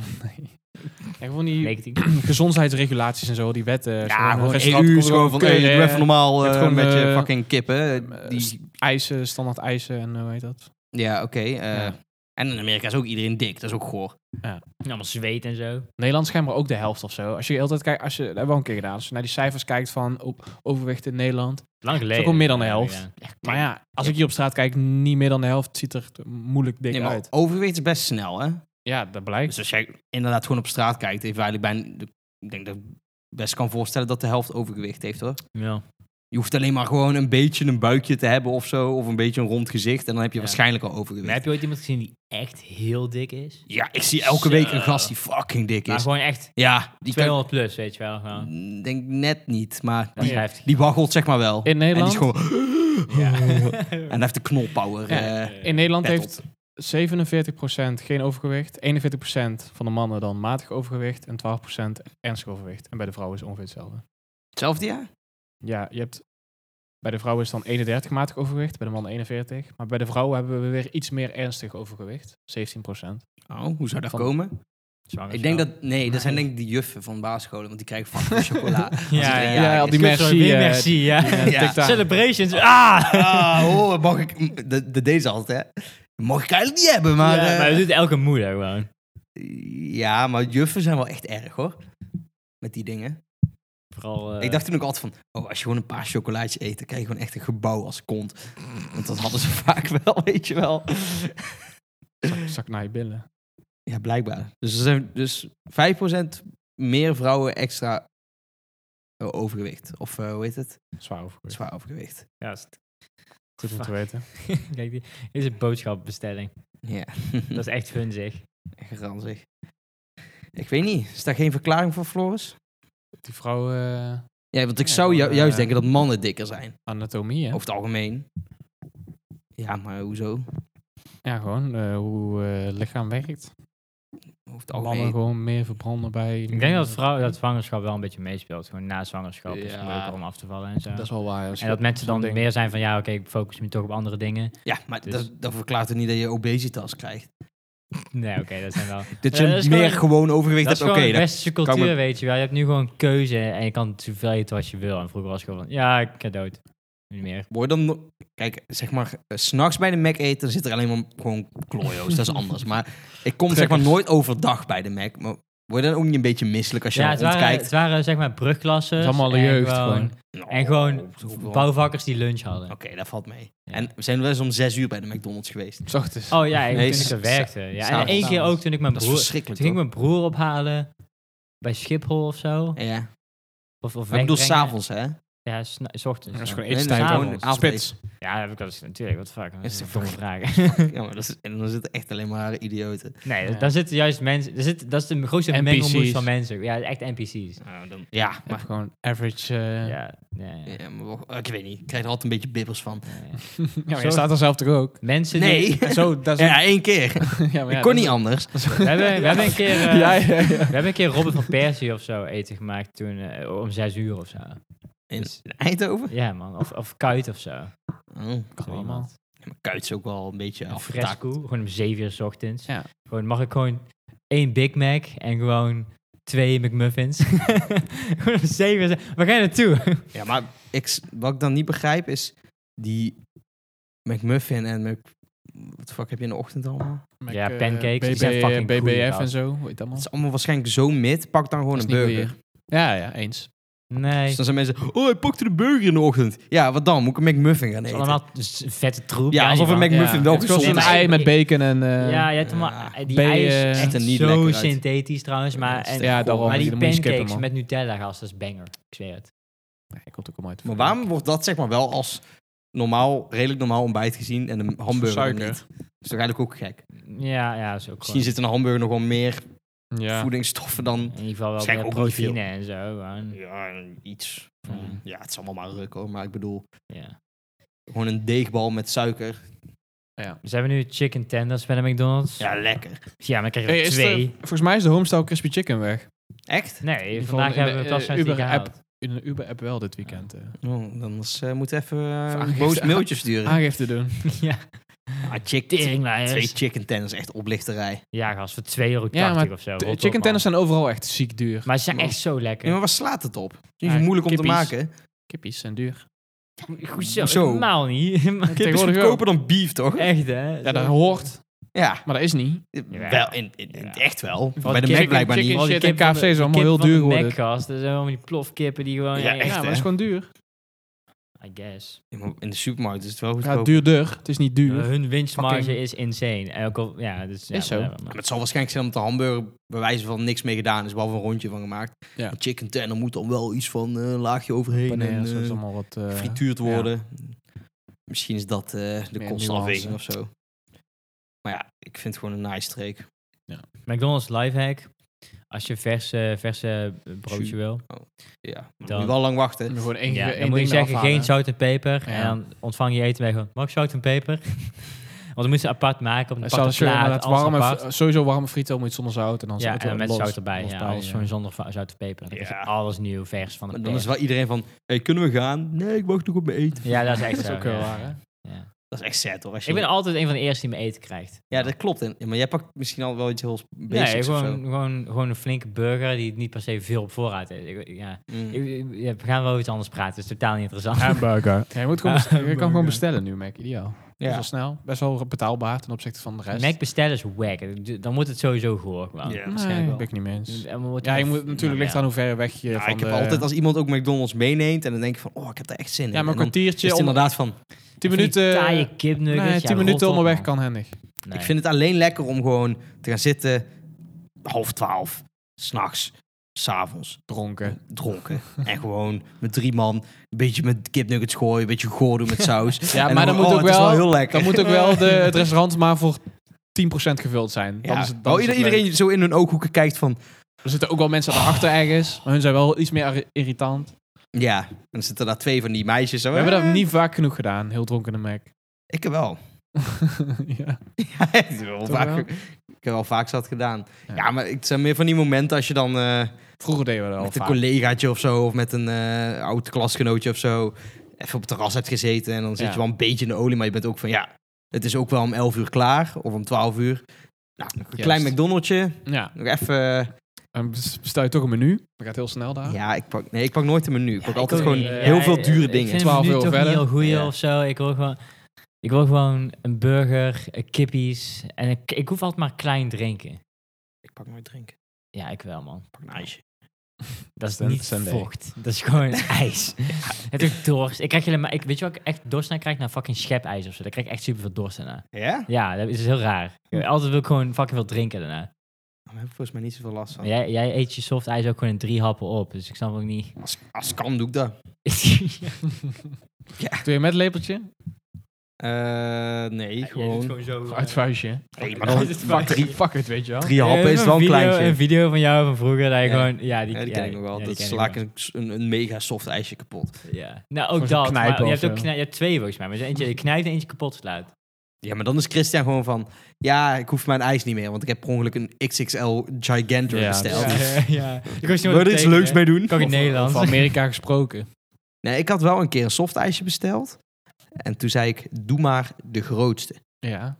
En gewoon die 19. gezondheidsregulaties en zo, die wetten. Ja, gewoon restaurant EU is komt gewoon ook van, hey, keuren, doe even normaal eh, Je hebt gewoon, met je eh, fucking kippen. eh, Die, s- eisen, standaard eisen en eh, hoe heet dat? ja, oké. eh, Ja. En in Amerika is ook iedereen dik. Dat is ook goor. Allemaal zweet en zo. Nederland schijnbaar ook de helft of zo. Als je altijd kijkt, als je dat hebben we al een keer gedaan, als je naar die cijfers kijkt van op overwicht in Nederland. Lang geleden. ook al meer dan de helft. Maar ja, als Ja. ik hier op straat kijk, niet meer dan de helft ziet er moeilijk dik Nee, maar uit. overgewicht is best snel, hè? Ja, dat blijkt. Dus als jij inderdaad gewoon op straat kijkt, heeft eigenlijk bijna... Ik denk dat ik best kan voorstellen dat de helft overgewicht heeft, hoor. Ja. Je hoeft alleen maar gewoon een beetje een buikje te hebben of zo, of een beetje een rond gezicht, en dan heb je Ja. waarschijnlijk al Maar overgewicht. heb je ooit iemand gezien die echt heel dik is? Ja, ik zie elke Zo. week een gast die fucking dik Maar is. gewoon echt Ja, die kan 200 plus, weet je wel. gewoon. ik denk net niet, maar Dat die, is heftig. die waggelt zeg maar wel. Dus In en die Nederland, is gewoon... Ja. En hij heeft de knolpower. Ja. eh, in Nederland pet heeft 47% geen overgewicht, 41% van de mannen dan matig overgewicht en 12% ernstig overgewicht. En bij de vrouwen is het ongeveer hetzelfde. Hetzelfde jaar? Ja, je hebt bij de vrouwen is dan 31 matig overgewicht, bij de mannen 41. Maar bij de vrouwen hebben we weer iets meer ernstig overgewicht, 17 Oh, hoe zou dat Van- komen? Zwanger Ik denk vrouw. dat... Nee, dat zijn denk ik die juffen van basisscholen, want die krijgen fucking chocola. Ja, ja, ja, ja, ja, al die merci, merci. eh, merci, ja. Ja. Celebrations. Ah! Ah, oh, mag ik... De, de deze altijd, hè? Mag ik eigenlijk niet hebben, maar... ja, eh, maar dat doet elke moeder gewoon. Ja, maar juffen zijn wel echt erg hoor. Met die dingen. Vooral, eh, ik dacht toen ook altijd van, oh, als je gewoon een paar chocolaatjes eet, dan krijg je gewoon echt een gebouw als kont. Want dat hadden ze vaak wel, weet je wel. Zak, zak naar je billen. Ja, blijkbaar. Dus er zijn dus 5% meer vrouwen extra eh, overgewicht. Of eh, hoe heet het? Zwaar overgewicht. Zwaar overgewicht. Ja, is het- Goed om te Fuck. weten. Kijk, die dit is een boodschappenbestelling. Ja, Dat is echt hun zeg. echt ranzig. Ik weet niet, is daar geen verklaring voor, Floris? Die vrouwen eh, Ja, want ik Ja, zou ju- gewoon, juist eh, denken dat mannen dikker zijn. anatomie, hè? Over het algemeen. Ja, maar hoezo? Ja, gewoon eh, hoe eh, lichaam werkt. Over het Mannen algemeen. gewoon meer verbranden bij... Ik denk dat, vrouw, dat zwangerschap wel een beetje meespeelt. Gewoon na zwangerschap is het Ja. moeilijker om af te vallen en zo. Dat is wel waar. en dat mensen dan zo'n ding. meer zijn van, ja, oké, ik focus me toch op andere dingen. Ja, maar Dus- dat, dat verklaart er niet dat je obesitas krijgt. Nee, oké, dat zijn wel... Dat Ja, je Eh, dat is meer gewoon- gewoon overgewicht dat is hebt, oké. gewoon de dat- westerse me- cultuur, weet je wel. Je hebt nu gewoon keuze en je kan zoveel eten als je wil. En vroeger was ik gewoon van, ja, ik ga dood. Nu Niet meer. Word dan, no- kijk, zeg maar, eh, 's s'nachts bij de Mac eten, dan zit er alleen maar gewoon klojo's. dat is anders. Maar ik kom zeg maar nooit overdag bij de Mac. Maar word je dan ook niet een beetje misselijk als je Ja, naar het rond waren, kijkt? het waren zeg maar brugklassen. Het is allemaal de jeugd gewoon. Nou, En gewoon dat hoeft wel. bouwvakkers die lunch hadden. Oké, dat valt mee. Ja. En we zijn wel eens om zes uur bij de McDonald's geweest. S ochtends. Oh ja, ik- Nee, toen ik s- er werkte. Ja, en s'avonds. één keer ook toen ik mijn Dat is broer... verschrikkelijk, Toen ging ik toch? mijn broer ophalen bij Schiphol of zo. Ja. Of, of Maar ik bedoel, wegbrengen. s'avonds, hè? Ja, sna- s ochtends. Dat is ja. gewoon Nee, eten nee, gewoon Spits. avondeten. Ja, dat heb ik wel eens natuurlijk. Wat fuck. Dat Is is een de domme vraag. Ja, maar dat is, en dan zitten echt alleen maar idioten. nee, Ja. daar zitten juist mensen... Daar zit, dat is de grootste NPC's. mengelmoes van mensen. Ja, echt NPC's. Nou, dan, ja, Maar maar, gewoon average... eh, ja. Ja, ja, ja. ja, maar wacht, ik weet niet. Ik krijg er altijd een beetje bibbers van. ja. maar Zo- je staat er zelf toch ook? Mensen die... Nee. Zo, dat is... Ja, één keer. ja, maar Oh ja, ik kon dat- niet anders. We hebben, we hebben een keer... eh, Ja, ja, ja. We hebben een keer Robert van Persie of zo eten gemaakt toen eh, om zes uur of zo. In Dus- Eindhoven? Ja man, of, of kuit of zo. Oh. Zo allemaal. iemand. Ja, maar Kuit is ook wel een beetje Een afgetakt. fresco, gewoon om 7 uur 's ochtends. Ja. Gewoon, mag ik gewoon één Big Mac en gewoon twee McMuffins? gewoon om 7 uur. 's- Waar ga je naartoe? Ja, maar ik, s- wat ik dan niet begrijp is die McMuffin en Mc... Wat de fuck heb je in de ochtend allemaal? Mac, Ja, eh, pancakes, die BB, zijn fucking eh, BBF goed, en zo. Hoe heet dat Het allemaal? is allemaal waarschijnlijk zo mid. Pak dan gewoon Dat een is niet burger. Ja, ja, eens. Nee. Dus dan zijn mensen... Oh, hij pakte de burger in de ochtend. Ja, wat dan? Moet ik een McMuffin gaan Het is eten? allemaal s- vette troep. Ja, alsof een die McMuffin ja. wel Het is gewoon gezond Een is. ei met bacon en... eh, ja, je hebt allemaal, Ja. die Ben ei je- is Ziet er echt niet zo lekker uit. synthetisch trouwens, maar, en, Ja, daarom. maar die Dan moet je skippen, pancakes met man. Nutella gast, dat is banger. Ik zweer het. Nee, ik kom ook allemaal uit. Maar waarom wordt dat zeg maar wel als normaal, redelijk normaal ontbijt gezien en een hamburger suiker. niet? Dat is toch eigenlijk ook gek? Ja, ja, is ook Misschien gewoon- zit in een hamburger nog wel meer Ja. voedingsstoffen dan... in ieder geval wel Zijn meer ook niet veel. proteïne en zo. gewoon. Ja, iets. Mm. Ja, het is allemaal maar ruk hoor. Maar ik bedoel, Ja. gewoon een deegbal met suiker. Dus hebben we nu chicken tenders bij de McDonald's. Ja, lekker. Ja, maar dan krijg je Hey, er is twee. de- volgens mij is de Homestyle Crispy Chicken weg. Echt? Nee, Die vandaag van- hebben we eh, pas eh, uit die Uber gehaald. In een Uber-app wel dit weekend. eh. dan moeten we even eh, een aangifte- boos mailtje sturen. Aangifte doen. ja. Ja, chick, twee Teringleiers. chicken tenders, echt oplichterij. Ja, gast, voor 2,80 euro Ja, maar of zo. T- Rot op, Chicken man. tenders zijn overal echt ziek duur. Maar ze zijn echt zo lekker. Ja, maar waar slaat het op? Het is Ja, moeilijk om te kippies. maken. Kippies zijn duur. Goed zo, Zo. helemaal niet. Maar Kip is Tegenwoordig goedkoper dan beef, toch? echt, hè? Ja, dat hoort. Ja, Maar dat is niet. Ja. wel, in, in- in- Ja. echt wel. Wat Bij de chicken- Mac blijkbaar chicken niet. Al die shit en kip van de- KFC is allemaal kip heel van duur de Mac, geworden. gast. Dat zijn allemaal die plofkippen die gewoon... Ja, Ja, Echt, ja, maar hè? dat is gewoon duur. I guess. Ja, maar In de supermarkt is het wel Ja, goedkoop. duurder. Het is niet duur. Eh, hun winstmarge Fucking- is insane. En ook al, ja, dus, ja, Is zo. whatever, man. Maar het zal waarschijnlijk zijn omdat de hamburger bij wijze van niks mee gedaan is, behalve een rondje van gemaakt. Ja. Een chicken tender moet dan wel iets van eh, een laagje overheen en Paneer, zo is eh, allemaal wat... eh, frituurd worden. Misschien is dat eh, de Meer kostenafweging of nuance. zo. Maar ja, ik vind het gewoon een nice streek. McDonald's lifehack. Als je verse, verse broodje Jus. wil. Ja, maar dan Dan- moet je wel lang wachten. Gewoon één, Ja, één dan moet je ding zeggen eraf halen. geen zout en peper. Ja. En dan ontvang je eten bij gewoon, mag ik zout en peper? Want dan moeten ze apart maken. Op een Het aparte is wel plaat, het alles warme, apart. sowieso warme friet moet zonder zout en dan Ja, het en dan met los- zout erbij. los Ja, bij, alles ja. gewoon zonder va- zout en peper. Dan krijg je Ja. alles nieuw, vers van de Maar dan pers. is wel iedereen van, hey, kunnen we gaan? Nee, ik wacht nog op mijn eten. Ja, dat is echt Dat is zo, ook heel ja. waar, hè? Ja. Dat is echt sad hoor. Als je... Ik ben altijd een van de eerste die me eten krijgt. Ja, dat klopt. En, maar jij pakt misschien al wel iets heel basics Nee, of gewoon, zo. gewoon, gewoon een flinke burger die niet per se veel op voorraad is. Ik- ja. Mm. Ik- ik- ja, we gaan wel iets anders praten, het is totaal niet interessant. Hamburger. Hm. Ja, je, moet gewoon Ja, bestellen. je kan hamburger. gewoon bestellen nu, Mac. Ideaal. Best Ja. wel snel. Best wel betaalbaar ten opzichte van de rest. Mac bestellen is wack. Dan wordt het sowieso goor. gewoon. Ja, nee, waarschijnlijk ben wel. nou ik niet mee eens. En we moeten Ja, je wel- moet natuurlijk Nou ligt ja. aan hoe ver weg je Ja, van ik heb de- altijd als iemand ook McDonald's meeneemt en dan denk ik van, oh, ik heb daar echt zin in. Ja, maar En een dan is kwartiertje, het om, inderdaad van, tien Van die minuten, Taaie kipnuggets. nee, ja, tien rot minuten op, allemaal weg man. kan handig. Nee. ik vind het alleen lekker om gewoon te gaan zitten half twaalf, s'nachts, s'avonds, Dronken. dronken. en gewoon met drie man, een beetje met kipnuggets gooien, een beetje goor doen met saus. Ja, En maar dan, gewoon, oh, moet ook het is wel, heel lekker. dan moet ook wel de, het restaurant maar voor 10% gevuld zijn. Dan Ja. is het, dan Wel is het ieder- iedereen leuk. zo in hun ooghoeken kijkt van, Er zitten ook wel mensen aan de achter ergens, maar hun zijn wel iets meer arri- irritant. ja, en dan zitten daar twee van die meisjes. Zo, We hebben eh, dat niet vaak genoeg gedaan, heel dronkene Mac. Ik heb wel. ja. Ja, ik heb wel Toch vaak, wel? Ik heb wel vaak zat gedaan. Ja, Ja. maar het zijn meer van die momenten als je dan eh, Vroeger deden we dat al met een vaak. collegaatje of zo, of met een eh, oud klasgenootje of zo, even op het terras hebt gezeten en dan zit Ja. je wel een beetje in de olie, maar je bent ook van ja, het is ook wel om 11 uur klaar of om 12 uur. Nou, nog een klein Juist. McDonald'tje, Ja, nog even. en bes- bestel je toch een menu. Dat gaat heel snel daar. Ja, ik pak, nee, ik pak nooit een menu. Ik pak Ah. Ja, altijd ook gewoon niet. heel Ja, veel dure Ik dingen. vind 12 12 euro euro verder. Heel goeie Ja. of zo. Ik wil gewoon, ik wil gewoon een burger, een kippies en ik, ik hoef altijd maar klein drinken. Ik pak nooit drinken. Ja, ik wel man. Ik pak een ijsje. Dat is Sun- niet Sunday. vocht. Dat is gewoon ijs. Het is dorst. Ik krijg helemaal, ik weet je wat ik echt dorst naar krijg? Naar fucking schepijs of zo. Daar krijg ik echt super veel dorst naar. Ja? Ja, dat is dus heel raar. Altijd wil ik gewoon fucking veel drinken daarna. Daar heb ik volgens mij niet zoveel last Maar van. Jij, jij eet je soft ijs ook gewoon in drie happen op. Dus ik snap ook niet. Als, als kan, doe ik dat. Doe je met lepeltje? Eh, nee, gewoon. zo. Uit vuistje. Nee, maar Uit dan het fuck drie, Fuck it, weet je wel. drie happen Eh, is wel een video- kleintje. Een video van jou van vroeger, dat je Ja. gewoon... Ja, die, Ja, die ja, ken ik nog wel. ja, die dat ken ik sla ik nog een, een, een mega soft ijsje kapot. wel. Ja. Nou, ook Voor zo'n dat. maar knijpen je, of hebt ook zo. knij- je hebt twee volgens mij. Maar er is eentje je knijpt en eentje kapot slaat. Ja, maar dan is Christian gewoon van... Ja, ik hoef mijn ijs niet meer, want ik heb per ongeluk een XXL Gigantor Ja, besteld. dat Dus ja. ja. Ik wist niet Wil je wat er iets leuks mee doen? Kan ik in Of- Nederland. Of Amerika gesproken. Nee, ik had wel een keer een soft ijsje besteld. En toen zei ik, doe maar de grootste. Ja.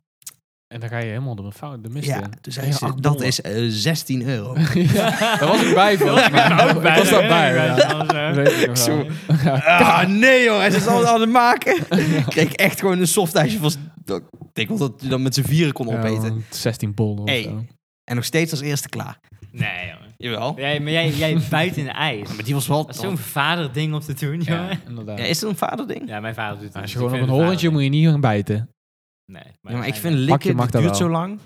En dan ga je helemaal de, fout, de mist Ja, in. toen zei ze, acht dat dollar. is eh, 16 euro. ja, daar was ik bij voor. Ik ben er ook bij. was daarbij, Ik ja. was eh. er Dat wel. weet ik nog wel. Zo. Ah, nee joh, hij is alles aan het maken. Ik kreeg echt gewoon een soft ijsje van... Ik denk wel dat je dan met z'n vieren kon Ja, opeten. want 16 bollen of Hey. zo. En nog steeds als eerste klaar. Nee, jongen. Jawel. Jij, maar jij, jij bijt in de ijs. Maar die was wel... Dat is zo'n vaderding om te doen, Ja, jongen. inderdaad. Nou, Ja, is het een vaderding? Ja, mijn vader doet het. Als je dus ik gewoon op vind een het horentje moet je niet gaan bijten. vader- Nee, Ja, maar ik mijn- vind Pakje likken, mag dat dat duurt wel. zo lang.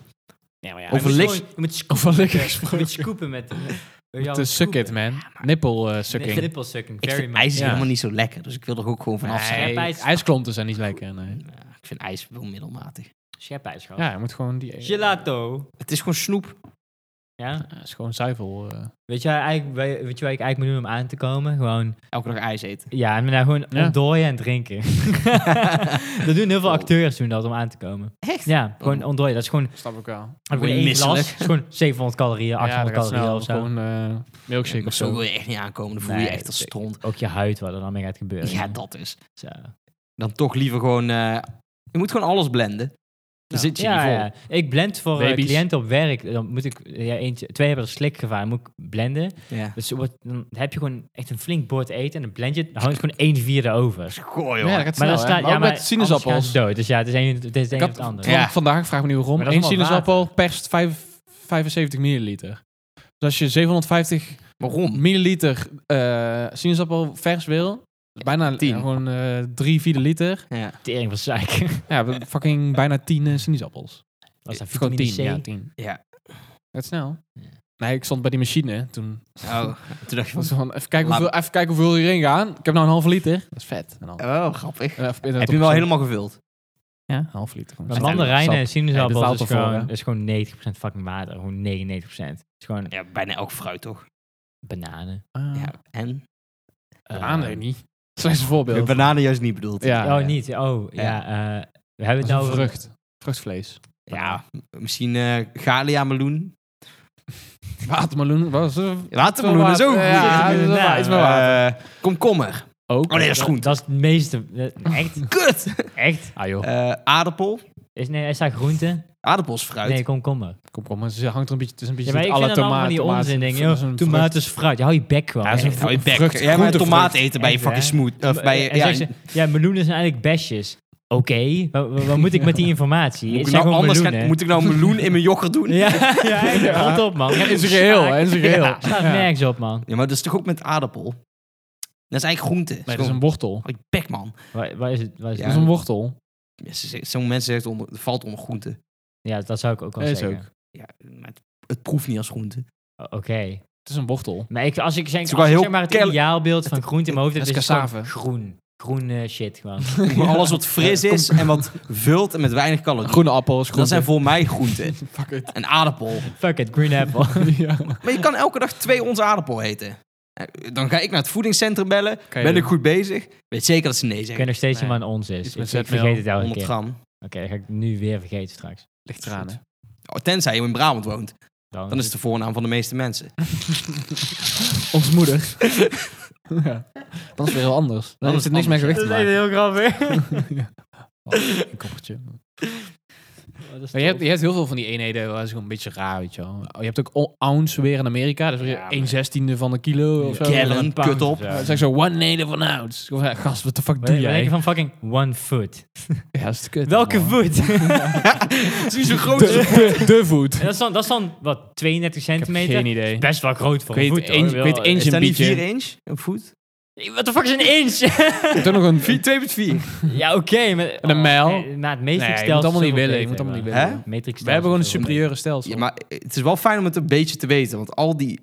Nee, maar ja, over je moet liks- gewoon- Je moet scoop- Over likken je moet gesproken. scoopen met... eh, Met de suck it, man. Nipple eh, sucking. Nipple sucking, Ik very vind much. ijs ja. helemaal niet zo lekker, dus ik wil er ook gewoon vanaf Nee, zijn. Schepijs. ijsklompen zijn niet lekker, nee. Ja, ik vind ijs wel middelmatig. Schepijs, gast. Ja, je moet gewoon die... Gelato. Het is gewoon snoep. Ja? Ja, is gewoon zuivel. eh. Weet je, waar eigenlijk, wij- weet je wat ik eigenlijk moet doen om aan te komen? Gewoon, Elke dag ijs eten. ja, en nou gewoon Ja. ontdooien en drinken. dat doen heel veel Oh. acteurs doen dat om aan te komen. Echt? Ja, gewoon Oh. ontdooien. Dat is gewoon, Snap ik wel. gewoon je één misselijk. glas. is gewoon 700 calorieën, 800 calorieën of zo. Gewoon eh, milkshake Maar of zo zo. wil je echt niet aankomen, dan voel je Nee, je echt als zeker. stront. Ook je huid, wat er dan mee gaat gebeuren. Ja, dat dus. is. Zo. Dan toch liever gewoon... eh, je moet gewoon alles blenden. Dan zit je ja, niet vol. ja. Ik blend voor eh, Baby's. cliënten op werk. Dan moet ik, ja, eentje, twee hebben er slik gevaar, moet ik blenden. Ja. Dus er wordt, dan heb je gewoon echt een flink bord eten en dan blend je het, dan hangt gewoon één vierde over. Gooi, Ja, dat gaat snel, dan hè? staat- maar ook met anders gaan sinaasappels. ze dood. Dus ja, het is een, het is het Ik een of had het ander. Ja. van- vandaag, vraag me niet waarom, Maar dat is één allemaal sinaasappel perst vijf- 75 milliliter. Dus als je 750 Waarom? milliliter eh, sinaasappel vers wil, is bijna Tien. eh, gewoon eh drie, vierde liter. Ja. Tering van suiker. Ja, we- fucking bijna tien eh, sinaasappels. Was dat Of gewoon vitamine tien, C? ja, tien. Ja. Gaat snel. Ja. Nee, ik stond bij die machine toen. Oh, toen dacht je van... was gewoon, even, kijken Laat- hoeveel, even kijken hoeveel hierin gaan. Ik heb nou een halve liter. Dat is vet. En dan- Oh, grappig. en even internet Heb je hem opzoeken. wel helemaal gevuld? Ja, een halve liter. Maar mandarijnen en sinaasappels Nee, dit is, haalt al gewoon, voor, is gewoon 90% fucking water. Gewoon 99%. Het is gewoon Ja, bijna elk fruit, toch? bananen. Ja. En? Bananen Eh, niet. Ah. Slechts een voorbeeld. bananen juist niet bedoeld. Ja. Oh, niet. Oh, ja. eh, we hebben het Dat is nou een over- vrucht. Vruchtvlees. Ja, misschien eh Galia meloen. Watermeloen. Was, eh, Watermeloen is ook goed. Ja, Zit dat er in is wel de waar, naam. is maar waar. Eh, komkommer. Ook. Oh nee, dat is groen. Dat is het meeste. eh, Echt? Kut! Echt? Ah joh, Eh, aardappel. Is, nee, is dat groente? Aardappelsfruit. Nee, komkommer. kom kom, maar ze hangt er een beetje tussen. Een Ja, beetje maar ik met Dus vind alle dat allemaal van die tomaten, onzin. Denk, tomaten, joh, dat is een tomaat vrucht. is fruit. Hou je bek wel. Ja, dat is een echt. Hou je bek. Vrucht- ja, maar groente- tomaat vrucht. Eh, eten bij je Echt, fucking hè? smooth. Of En bij je, ja, zeggen ze, ja, meloenen zijn eigenlijk besjes. Oké, wa- wa- wat moet ik met die informatie? moet, Het ik nou zijn gewoon anders meloenen. gaan- moet ik nou meloen in mijn yoghurt doen? Ja, ja, echt, Ja. rot op man. Ja, in zijn geheel, hè, in zijn geheel. Ja, staat Ja. nergens op man. Ja, maar dat is toch ook met aardappel? Dat is eigenlijk groente. Nee, dat is een wortel. Hou je bek, man. Waar, waar is het? Waar is Ja. Dat is het? een wortel. Ja, ze zegt- Zo'n mensen zegt onder, het valt onder groente. Ja, dat zou ik ook wel Dat is zeggen. ook. Ja, maar het, het proeft niet als groente. O- Oké. Het is een wortel. Maar ik, als ik is zeg, als ook wel ik heel zeg maar het kennelijk- ideaalbeeld van groente in mijn hoofd, dat heb, is is het gewoon cassave. groen. Groen eh, shit gewoon. Maar Alles wat fris is en wat vult en met weinig calorieën. Groene appels. Dat zijn groente. voor mij groenten. Fuck it. Een aardappel. Fuck it, green apple. ja. Maar je kan elke dag twee ons aardappel eten. Eh, Dan ga ik naar het voedingscentrum bellen. Kan je ben ik doen. goed bezig? Weet zeker dat ze nee Ik zeggen. weet nog steeds niet Nee. wat ons is. Iets Ik, met ik zetmeel, vergeet het elke 100 keer. Oké, gram. dat ga ik nu weer vergeten straks. Ligt eraan, hè. Oh, tenzij je in Brabant woont. Dan is het de voornaam van de meeste mensen. Ons moeder. ja. Dat is weer heel anders. Dan heeft het niks meer gewicht te maken. heel grappig. ja. Een koppertje. Maar je, hebt, je hebt heel veel van die eenheden, dat is gewoon een beetje raar, weet je wel. Je hebt ook o- ounce weer in Amerika, dat is weer Ja, maar- 1 zestiende van een kilo of zo. Gallon. een kut op. Ja, het is echt zo, one native van ounce. Gewoon, ja, Gast, wat de fuck doe Doe jij? van fucking one foot. Ja, dat is kut. Welke man. voet? Het is niet zo De, groot. de, de voet. dat, is dan, dat is dan, wat, 32 Ik heb centimeter? geen idee. Best wel groot voor Ik een weet voet. eh, één- ik weet één- Is dat niet Bietje. 4 inch? Een voet? Wat de fuck is een inch? Ik heb nog een... 2,4. ja, oké. maar- En een oh, mijl? nee, Maar het Nee, matrix je stelt moet allemaal niet willen. Je moet allemaal niet Hè? willen. Matrix We hebben gewoon een stelsel. superieure stelsel. Ja, maar eh, het is wel fijn om het een beetje te weten. Want al die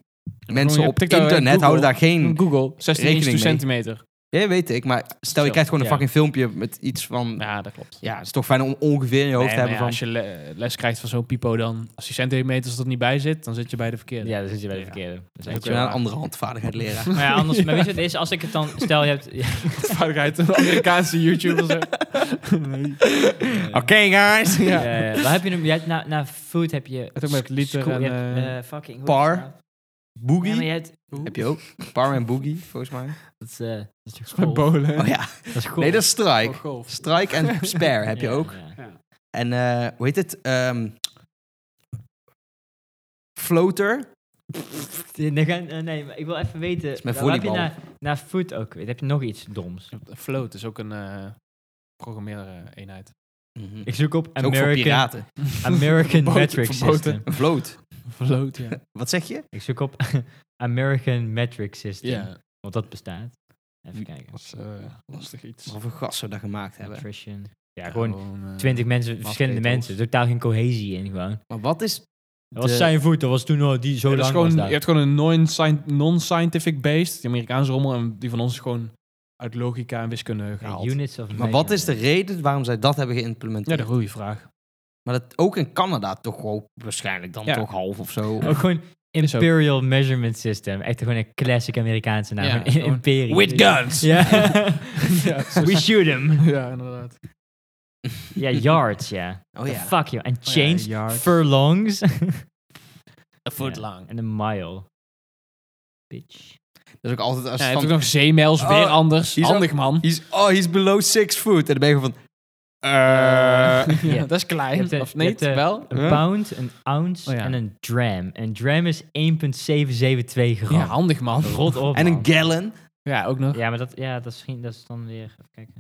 mensen je op tikt daar in internet Google. houden daar geen... Google, 16 inch Rekening to mee. centimeter. Ja, weet ik. Maar stel, je Zo, krijgt gewoon een ja. fucking filmpje met iets van... Ja, dat klopt. Ja, het is toch fijn om ongeveer in je hoofd Nee, te maar hebben ja, van... Als je le- les krijgt van zo'n pipo dan, als die centimeters er niet bij zit, dan zit je bij de verkeerde. Ja, dat zit je bij de Ja. verkeerde. Dat is Dan echt moet je zo. naar een andere handvaardigheid leren. Maar ja, anders, maar weet je wat het is? Als ik het dan, stel je hebt... Vaardigheid, een Amerikaanse YouTuber. zo. Oké, guys. Ja. waar heb je hem? Je hebt na, na food heb je. Het ook met liter sco- en, je hebt, eh, eh, fucking. par. hoe heet het nou? Ja, maar Boogie. je hebt. Heb je ook. Par en Boogie, volgens mij. Dat is, eh, dat is toch Met golf? bolen. Oh ja. Dat is golf. Nee, dat is Strike. Oh, golf. Strike en Spare heb je Ja, ook. ja. En eh, hoe heet het? Ehm, floater. Nee, dan gaan- eh, nee, maar ik wil even weten. is met waar heb je volleybal. na, na food ook? weer? Heb je nog iets doms? Float is ook een eh programmeer-eenheid. Mhm. Ik zoek op Is Ook voor American, piraten. American Verboden, Metric verboden. System. Een float. Float, ja. Wat zeg je? Ik zoek op American Metric System. Ja, Want dat bestaat. Even kijken. dat is eh, lastig iets. Of een gast zou dat gemaakt hebben. Nutrition. Ja, gewoon eh, 20 mensen, verschillende masketels. mensen. Totaal geen cohesie in gewoon. Maar wat is... Dat was De- zijn voet, dat was toen al die zo Ja, dat is lang gewoon, was je dat. hebt gewoon een non-scien- non-scientific based, die Amerikaanse rommel, en die van ons is gewoon uit logica en wiskunde Ja, gehaald. Units of Maar wat is de measurement. reden waarom zij dat hebben ja, geïmplementeerd? de goede vraag. Maar dat ook in Canada toch ook waarschijnlijk dan Ja. toch half of zo. Ook gewoon Is ook. Imperial Measurement System. Echt gewoon een classic Amerikaanse naam. Ja, Gewoon een gewoon Imperium. With guns! Ja. Ja, zo- We shoot him. ja, inderdaad. Ja, yards, ja. Oh ja. The fuck, joh. En chains, yards. furlongs. Een foot lang. En een mile. Bitch. Dat is ook altijd als Ja, je van- hebt ook nog zeemijls, Oh, weer anders. die is Handig, man. He's, oh, he's below six foot. En dan ben je gewoon van... Eh, Ja. Dat is Je klein, hebt, eh, of je niet? hebt, eh, Wel? Een Ja. pound, een ounce Oh ja. en een dram. Een dram is 1,772 gram. Ja, handig man. Rot op, En een man. gallon. Ja, ook nog. Ja, maar dat, ja, dat, is, geen- dat is dan weer... Even kijken.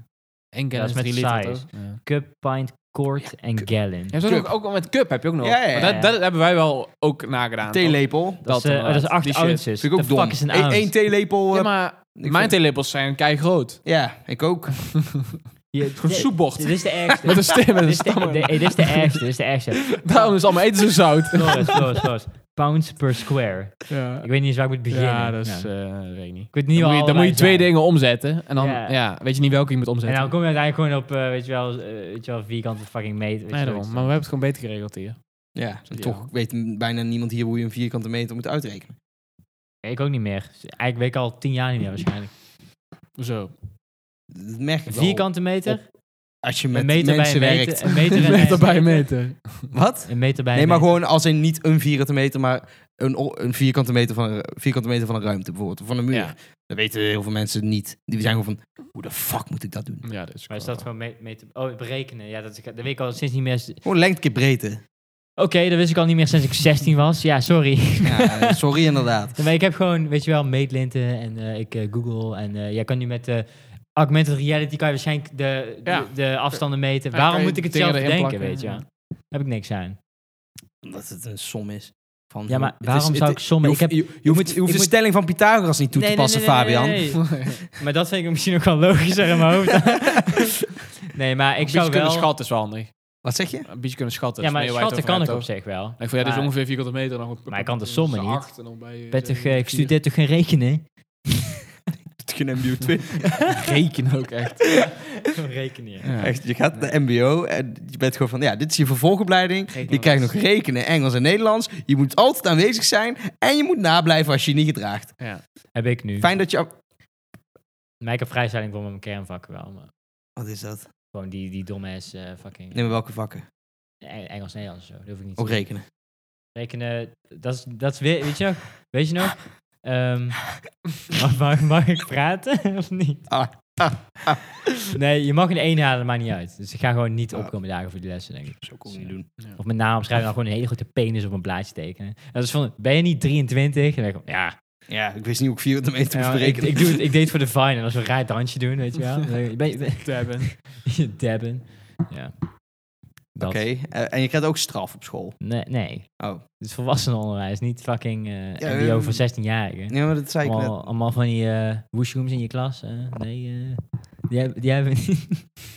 En Dat is met drie liter, size. toch? Ja. Cup, pint, quart en gallon. Je hebt Cup. ook, ook al met cup heb je ook nog. Ja, ja, ja, Maar dat, ja. dat hebben wij wel ook nagedaan. toch? Theelepel. Dat, dat is, eh, dat is inderdaad. 8 Die shit. ounces. Vind ik ook The fuck dom. is een Eén ounce? één theelepel. Ja, eh, maar ik mijn vind- theelepels zijn kei groot. Ja, ik ook. Je- Zo'n dit- soepbocht. Dit is de ergste. Met een stem en dit, een is de, stam. de- eh, dit is de ergste. Dit is de ergste. Daarom is allemaal eten zo zout. Flores, Flores, Flores. Pounds per square. Ja, Ik weet niet eens waar ik moet beginnen. ja dat is... Ja. eh, weet ik niet. Ik weet Dan niet moet je, waar dan moet je twee allebei zijn. dingen omzetten. En dan Ja. ja. weet je niet welke je moet En omzetten. dan kom je uiteindelijk gewoon op, eh, weet, je wel, eh, weet je wel, vierkante fucking meter. weet nee, je daarom. wel. Maar we hebben het gewoon beter geregeld hier. Ja, en Ja. toch weet m- bijna niemand hier hoe je een vierkante meter moet uitrekenen. Ik ook niet meer. Dus Eigenlijk weet ik al tien jaar niet meer waarschijnlijk. Zo. Dat merk ik wel. Vierkante meter? Als je Een met meter bij mensen een meter. werkt. Een meter, en- Meter bij meter. Wat? Een meter bij Nee, een maar meter. gewoon als in niet een vierkante meter, maar een, o- een vierkante, meter van een, vierkante meter van een ruimte bijvoorbeeld. Of van een muur. Ja. Dat weten heel veel mensen niet. Die zijn gewoon van, hoe de fuck moet ik dat doen? Ja, dat is Maar is dat gewoon me- meter... Oh, berekenen. Ja, dat, is- dat weet ik al sinds niet meer... Oké, Gewoon lengte keer breedte. dat wist ik al niet meer sinds ik 16 was. Ja, sorry. Ja, eh, sorry inderdaad. Ja, Maar ik heb gewoon, weet je wel, meetlinten en eh, ik eh, Google. En eh, jij kan nu met eh, augmented reality kan je waarschijnlijk de, Ja. de, de afstanden meten. Ja, kan Waarom je moet ik het dingen zelf erin bedenken, plakken, weet je ja. Mhm. wel? Heb ik niks aan. Omdat het een som is. Van, Ja, maar het is- waarom het- zou ik sommen? Je Ik hoeft, heb... je, je hoeft, moet- je hoeft ik de moet- stelling van Pythagoras niet toe Nee, te nee, passen, nee, nee, nee, Fabian. nee, nee. Maar dat vind ik misschien ook wel logischer in mijn hoofd. nee, maar ik een beetje zou kunnen wel... schatten is wel handig. Wat zeg je? Een beetje kunnen schatten. Ja, is maar meer waar je het schatten over kan ik hebt, op zich wel. toch? Ik vind, ja, dit is Maar ongeveer vierkante meter. Dan nog Maar ik kan de sommen niet. Acht en dan bij, eh, ben toch, zeven, eh, ik vier. studeer toch geen rekenen? Geen MBO 2. Reken ook echt. rekenen, ja. Ja. Echt, je gaat naar de MBO en je bent gewoon van, ja, dit is je vervolgopleiding. Je krijgt nog rekenen, Engels en Nederlands. Je moet altijd aanwezig zijn en je moet nablijven als je je niet gedraagt. Heb ik nu. Fijn dat je... af- Maar ik heb vrijstelling voor mijn kernvakken wel. Maar Wat is dat? gewoon die, die domme ass eh, fucking... Neem maar welke vakken? Engels, Nederlands of zo. Dat hoef ik niet te Ook rekenen. rekenen. Dat is, dat is weer, weet je nog? Weet je nog? Ehm, mag, mag, mag ik praten of niet? Ah, Nee, je mag een 1 halen, dat maakt niet uit. Dus ik ga gewoon niet Ah. opkomen dagen voor die lessen, denk ik. Zo kon ik niet doen. Of mijn naam schrijven, dan gewoon een hele grote penis op een blaadje tekenen. En dat is van, ben je niet 23? En dan denk ik, ja. Ja, ik wist niet hoe ik 400 meter moest Ja, ik, berekenen. ik, doe het, ik deed het voor de Vine. En als we een raar dansje doen, weet je wel. dan denk ik, Ben, je- ben, Tabben. je dabben. Ja. Oké, Dat. eh, en je krijgt ook straf op school. Nee, nee. Oh. Het is volwassenenonderwijs, niet fucking eh Ja, MBO ehm, voor 16-jarigen. Ja, maar dat zei ik net. Allemaal, allemaal van die eh woeshoems in je klas. eh, nee, eh, die, hebben- die hebben we niet.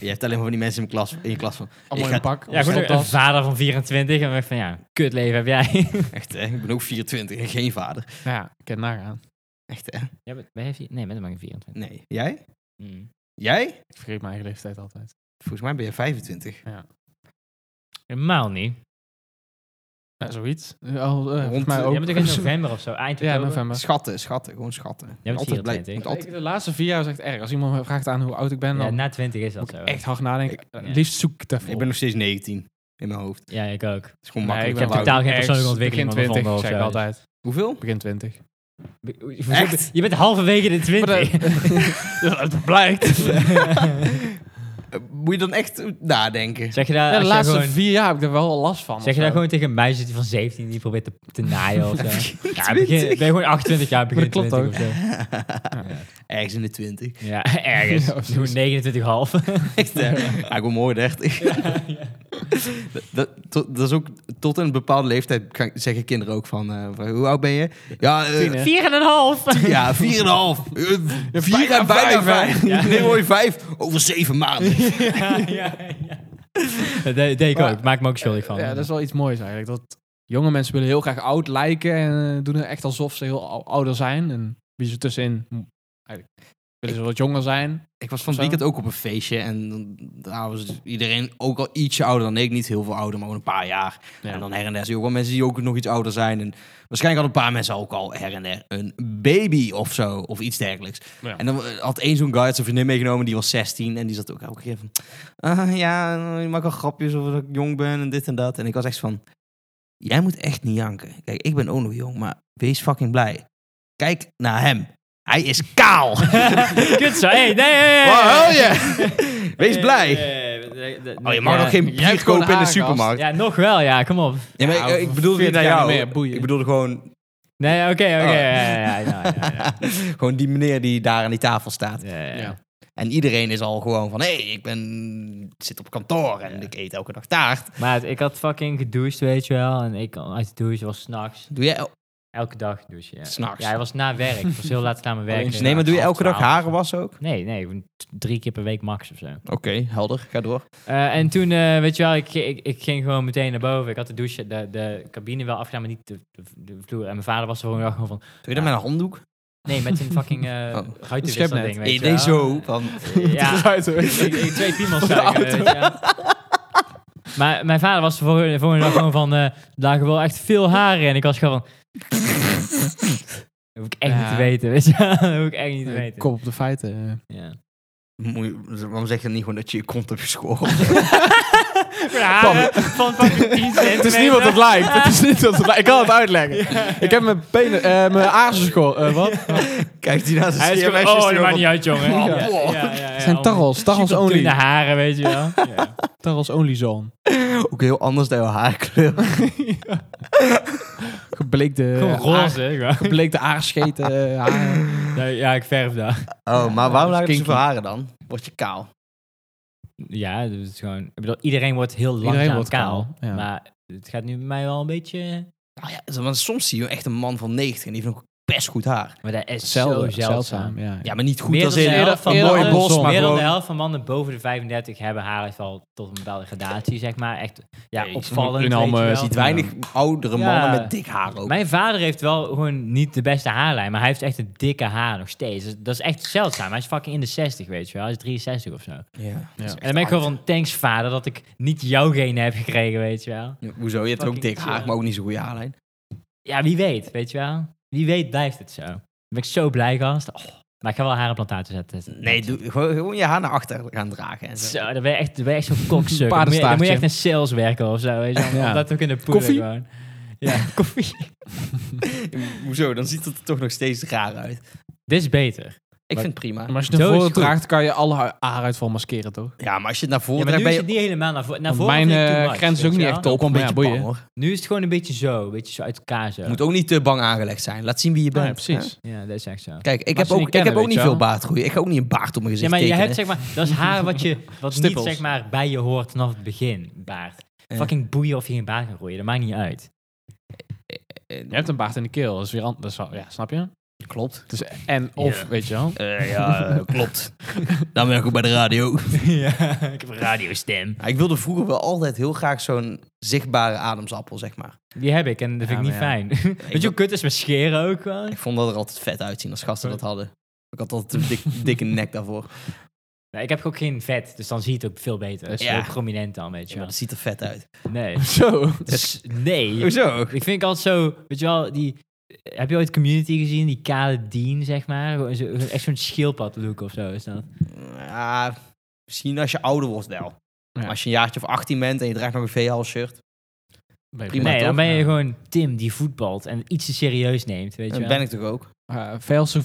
Je hebt alleen maar van die mensen in, mijn klas, in je klas van... Allemaal Ik in ga- een pak. Ja, Of goed, stoptas. een vader van 24. En we van, ja, kut leven heb jij. Echt, hè? Ik ben ook 24 en geen vader. Ja, ik kan het nagaan. Echt, hè? ja, maar, ben jij vier- nee, ben je maar geen 24. Nee. Jij? Mm. Jij? Ik vergeet mijn eigen leeftijd altijd. Volgens mij ben je 25. Helemaal niet. Ja, zoiets. Al, eh, Rond- volgens mij ook. Jij bent ook in november of zo, eind Ja, oktober. november. Schatten, schatten. Gewoon schatten. bent altijd blij. 24. moet altijd- Ik- De laatste vier jaar is echt erg. Als iemand me vraagt aan hoe oud ik ben, Ja, dan na 20 is dat zo. hè? echt hard nadenken. Ik- Het Liefst zoek ik het even Ik op. ben nog steeds 19 in mijn hoofd. Het Ja, ik ook. is gewoon Nee, makkelijk. ik heb Wou- totaal geen ergens persoonlijke ontwikkeling Begin ondervonden 20, of zeg ik zo. altijd. Hoeveel? Begin 20. Be- hoezo- Echt? Je bent halverwege de 20. dat blijkt. Eh, Moet je dan echt nadenken? zeg je daar, Ja, de als je laatste gewoon- vier jaar heb ik er wel last van. Zeg je of daar zo. gewoon tegen meisjes die van 17 die probeert te, te naaien of zo? Ja, begin, ben je gewoon 28 jaar, begin Maar dat 20 klopt of zo. Ergens in de 20. Ja, ergens. Ja, Doe precies. 29 half. Echt, hè? Ja, ik word mooi 30. Dat, dat, tot- dat is ook tot een bepaalde leeftijd kan- zeggen kinderen ook van, eh, van, hoe oud ben je? Ja, eh, Tien, hè? 4 en een half. ja vier en een half. Eh, vier bijna en bijna vijf, vijf. hè? Ja. Nee, hoor, vijf. Over zeven maanden. ja, ja, ja. Dat deed deed ik Maar- ook. Maak me ook schuldig van. Ja, dat is wel iets moois eigenlijk. Dat jonge mensen willen heel graag oud lijken en eh, doen er echt alsof ze heel ou- ouder zijn. En wie ze tussenin, hm, eigenlijk willen ze wat jonger zijn. Ik was van het Zo. weekend ook op een feestje en dan- daar was iedereen ook al ietsje ouder dan ik. Niet heel veel ouder, maar gewoon een paar jaar. Ja. En dan her en der zie je ook wel mensen die ook nog iets ouder zijn. En waarschijnlijk hadden een paar mensen ook al her en der een baby of zo, of iets dergelijks. Ja. En dan had één zo'n guy zijn vriendin meegenomen, die was 16. En die zat ook elke keer van, "Ah, ja, je maakt al grapjes over dat ik jong ben en dit en dat. En ik was echt van, jij moet echt niet janken. Kijk, ik ben ook nog jong, maar wees fucking blij. Kijk naar hem. Hij is kaal. Kut zo. Hey, nee, hey, hey, Wow, hell hey. yeah. Wees Hey, blij. hey, hey, Oh, je mag nog geen jij hebt bier gewoon kopen in de een haargast. supermarkt. Ja, Nou, nog wel, ja, kom op. Ja, maar Ja, ik, ik bedoelde niet 40 naar jaar jou. meer, boeien. ik bedoelde gewoon, Nee, oké, oké. Oh. ja, ja, ja, ja, ja, ja. gewoon die meneer die daar aan die tafel staat. Ja, ja, ja. Ja. En iedereen is al gewoon van, hé, hey, ik ben, zit op kantoor en ik eet elke dag taart. Maar ik had fucking gedoucht, weet je wel. En ik uit de douche was s'nachts. Doe jij, Elke dag douchen, ja. S'nachts? Ja, hij was na werk. Ik was heel laat naar mijn Alleen werk. s'nachts. nee, maar doe je Half elke dag twaalf. haren was ook? Nee, nee. t- Drie keer per week max of zo. Oké, helder, ga door. Eh, en toen, eh, weet je wel, ik, ik, ik ging gewoon meteen naar boven. Ik had de douche, de, de cabine wel afgedaan, maar niet de, de, de vloer. En mijn vader was er gewoon dag gewoon van... Doe je dat met een handdoek? Nee, met zijn fucking eh Oh. ruitenwisselding, Schepnet. weet je nee, wel. zo. Van, Ja, ik, Buiten. ik- twee piemels zuigen, weet je wel. Maar mijn vader was de volgende, volgende dag gewoon van... eh, Er lagen wel echt veel haren in. Ik was gewoon van... dat hoef ik echt niet Ja. te weten, weet je wel. Dat hoef ik echt niet te Eh, weten. Kop op de feiten. Ja. Moet je- waarom zeg je dan niet gewoon dat je je kont hebt geschoren? Haren van fucking 10 centimeter. Het is niet wat het lijkt. Het is niet wat het lijkt. Ik kan het uitleggen. Ik heb mijn benen, eh, mijn aarzen geschoren. Eh, wat? Kijkt hij naar de Hij is gewoon, CMS'jes oh, door dat maakt van- niet uit, jongen. Oh, Ja, wow. ja, ja, ja, Het zijn oh, tarrels. Tarrels super dunne only. haren, weet je wel. Ja. Tarrels only zone. Ook heel anders dan jouw haarkleur. Gebleekte, eh, Gewoon roze. ja. gebleekte aarscheten. eh, haren. Nee, Ja, ik verf daar. Oh, maar waarom laat je kinky. zoveel haren dan? Word je kaal? Ja, dus het is gewoon... Ik bedoel, iedereen wordt heel langzaam Iedereen wordt kaal. kaal, ja. Maar het gaat nu bij mij wel een beetje... Nou ja, want soms zie je echt een man van 90 en die heeft nog best goed haar. Maar dat is zo Zelden. zeldzaam. Zeldzaam. Ja. Ja, maar niet goed Meer dan als de in... eerder- helft van eerder mannen, Roy Bos, maar meer dan de gewoon- helft van mannen boven de 35 hebben haaraanval tot een bepaalde gradatie, zeg maar. Echt ja, Nee, opvallend, in allemaal weet je wel. ziet ziet weinig oudere Ja. mannen met dik haar ook. Mijn vader heeft wel gewoon niet de beste haarlijn, maar hij heeft echt een dikke haar nog steeds. Dus dat is echt zeldzaam. Hij is fucking in de 60, weet je wel. Hij is 63 of zo. En Ja. Ja. dan ben ik gewoon van, thanks vader, dat ik niet jouw genen heb gekregen, weet je wel. Ja, hoezo? Je hebt ook Fucking dik chill. haar, maar ook niet zo'n goede haarlijn. Ja, wie weet, weet je wel. Wie weet blijft het zo. Daar ben ik zo blij, gast. Oh, maar ik ga wel haar op plantaartje zetten. Nee, doe, gewoon, gewoon je haar naar achter gaan dragen. En zo. Zo, dan ben je echt, dan ben je echt zo'n kokzuk. Dan moet je- dan moet je echt Paardenstaartje. een sales werken of zo. Weet je, wel, om Ja. dat ook in de poeder Koffie? gewoon. Ja, koffie. Hoezo? Dan ziet het er toch nog steeds raar uit. Dit is beter. Ik Maar- vind het prima. Maar als je Zo het naar is voren het goed. draagt, kan je alle haar- haaruitval maskeren, toch? Ja, maar als je het naar Ja, voren maar nu draagt, is ben het je niet helemaal naar voren. Naar Want voren mijn, vind ik too eh, much, grens is weet ook je niet wel. echt top, ook wel een maar ja, beetje boeien. bang, hoor. Nu is het gewoon een beetje zo, een beetje zo uit elkaar zo. Moet ook niet te bang aangelegd zijn. Laat zien wie je bent. Ja, precies. Ja, dat is echt zo. Hè? Kijk, ik Maar heb, ze niet ook, ik kennen, heb ook weet niet je wel. veel baardgroei. Dus Ik ga ook niet een baard op mijn Ja, gezicht maar je tekenen. hebt zeg maar, dat is haar wat je, wat niet Stippels. zeg maar bij je hoort vanaf het begin, baard. Ja. Fucking boeien of je geen baard kan groeien, dat maakt niet uit. Je hebt een baard in de keel. Dat is weer anders. Ja, snap je? Klopt. Het is en of, Ja. weet je wel. ja, eh, klopt. Dan ben ik ook bij de radio. ja, ik heb een radiostem. Ja, ik wilde vroeger wel altijd heel graag zo'n zichtbare ademsappel, zeg maar. Die heb ik en dat Ja, vind ik niet maar fijn. Weet je hoe kut is met scheren ook gewoon? Ik vond dat er altijd vet uitzien als gasten dat hadden. Ik had altijd een dik- dikke nek daarvoor. Ja, Nee, ik heb ook geen vet, dus dan zie je het ook veel beter. Het is Ja. heel prominent dan, weet je maar wel. dat ziet er vet uit. Nee. Zo. Dus, nee. Hoezo? Ik vind ik altijd zo, weet je wel, die... Heb je ooit Community gezien? Die kale dien, zeg maar. Gewoon zo- Echt zo'n schildpad look of zo is dat. Ja, misschien als je ouder wordt wel. Maar Als je een jaartje of 18 bent en je draagt nog een VL shirt. prima. nee, dan toch? ben je Ja. gewoon Tim die voetbalt en iets te serieus neemt, weet je Dan wel. ben ik toch ook. Uh, Velse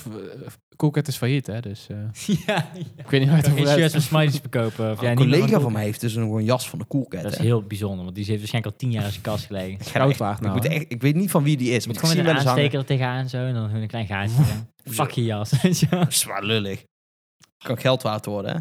Coolcat is failliet, hè? Dus eh, Ja, ik weet niet hoe het ja. over Geen shirts met hebt. smileys verkopen. Of, ja, een niet meer collega van- van mij heeft dus nog een jas van de Coolcat. Dat is hè. heel bijzonder, want die heeft waarschijnlijk al tien jaar in zijn kast gelegen. Ik ga Goud echt- waard ik, nou, moet hè? echt, ik weet niet van wie die is. Moet Want ik gewoon zie met hem een wel eens hangen. aansteker er tegenaan zo en dan gewoon een klein gaatje. erin. Fuck je jas. weet je wel. Zwaar lullig. Kan geld waard worden, hè?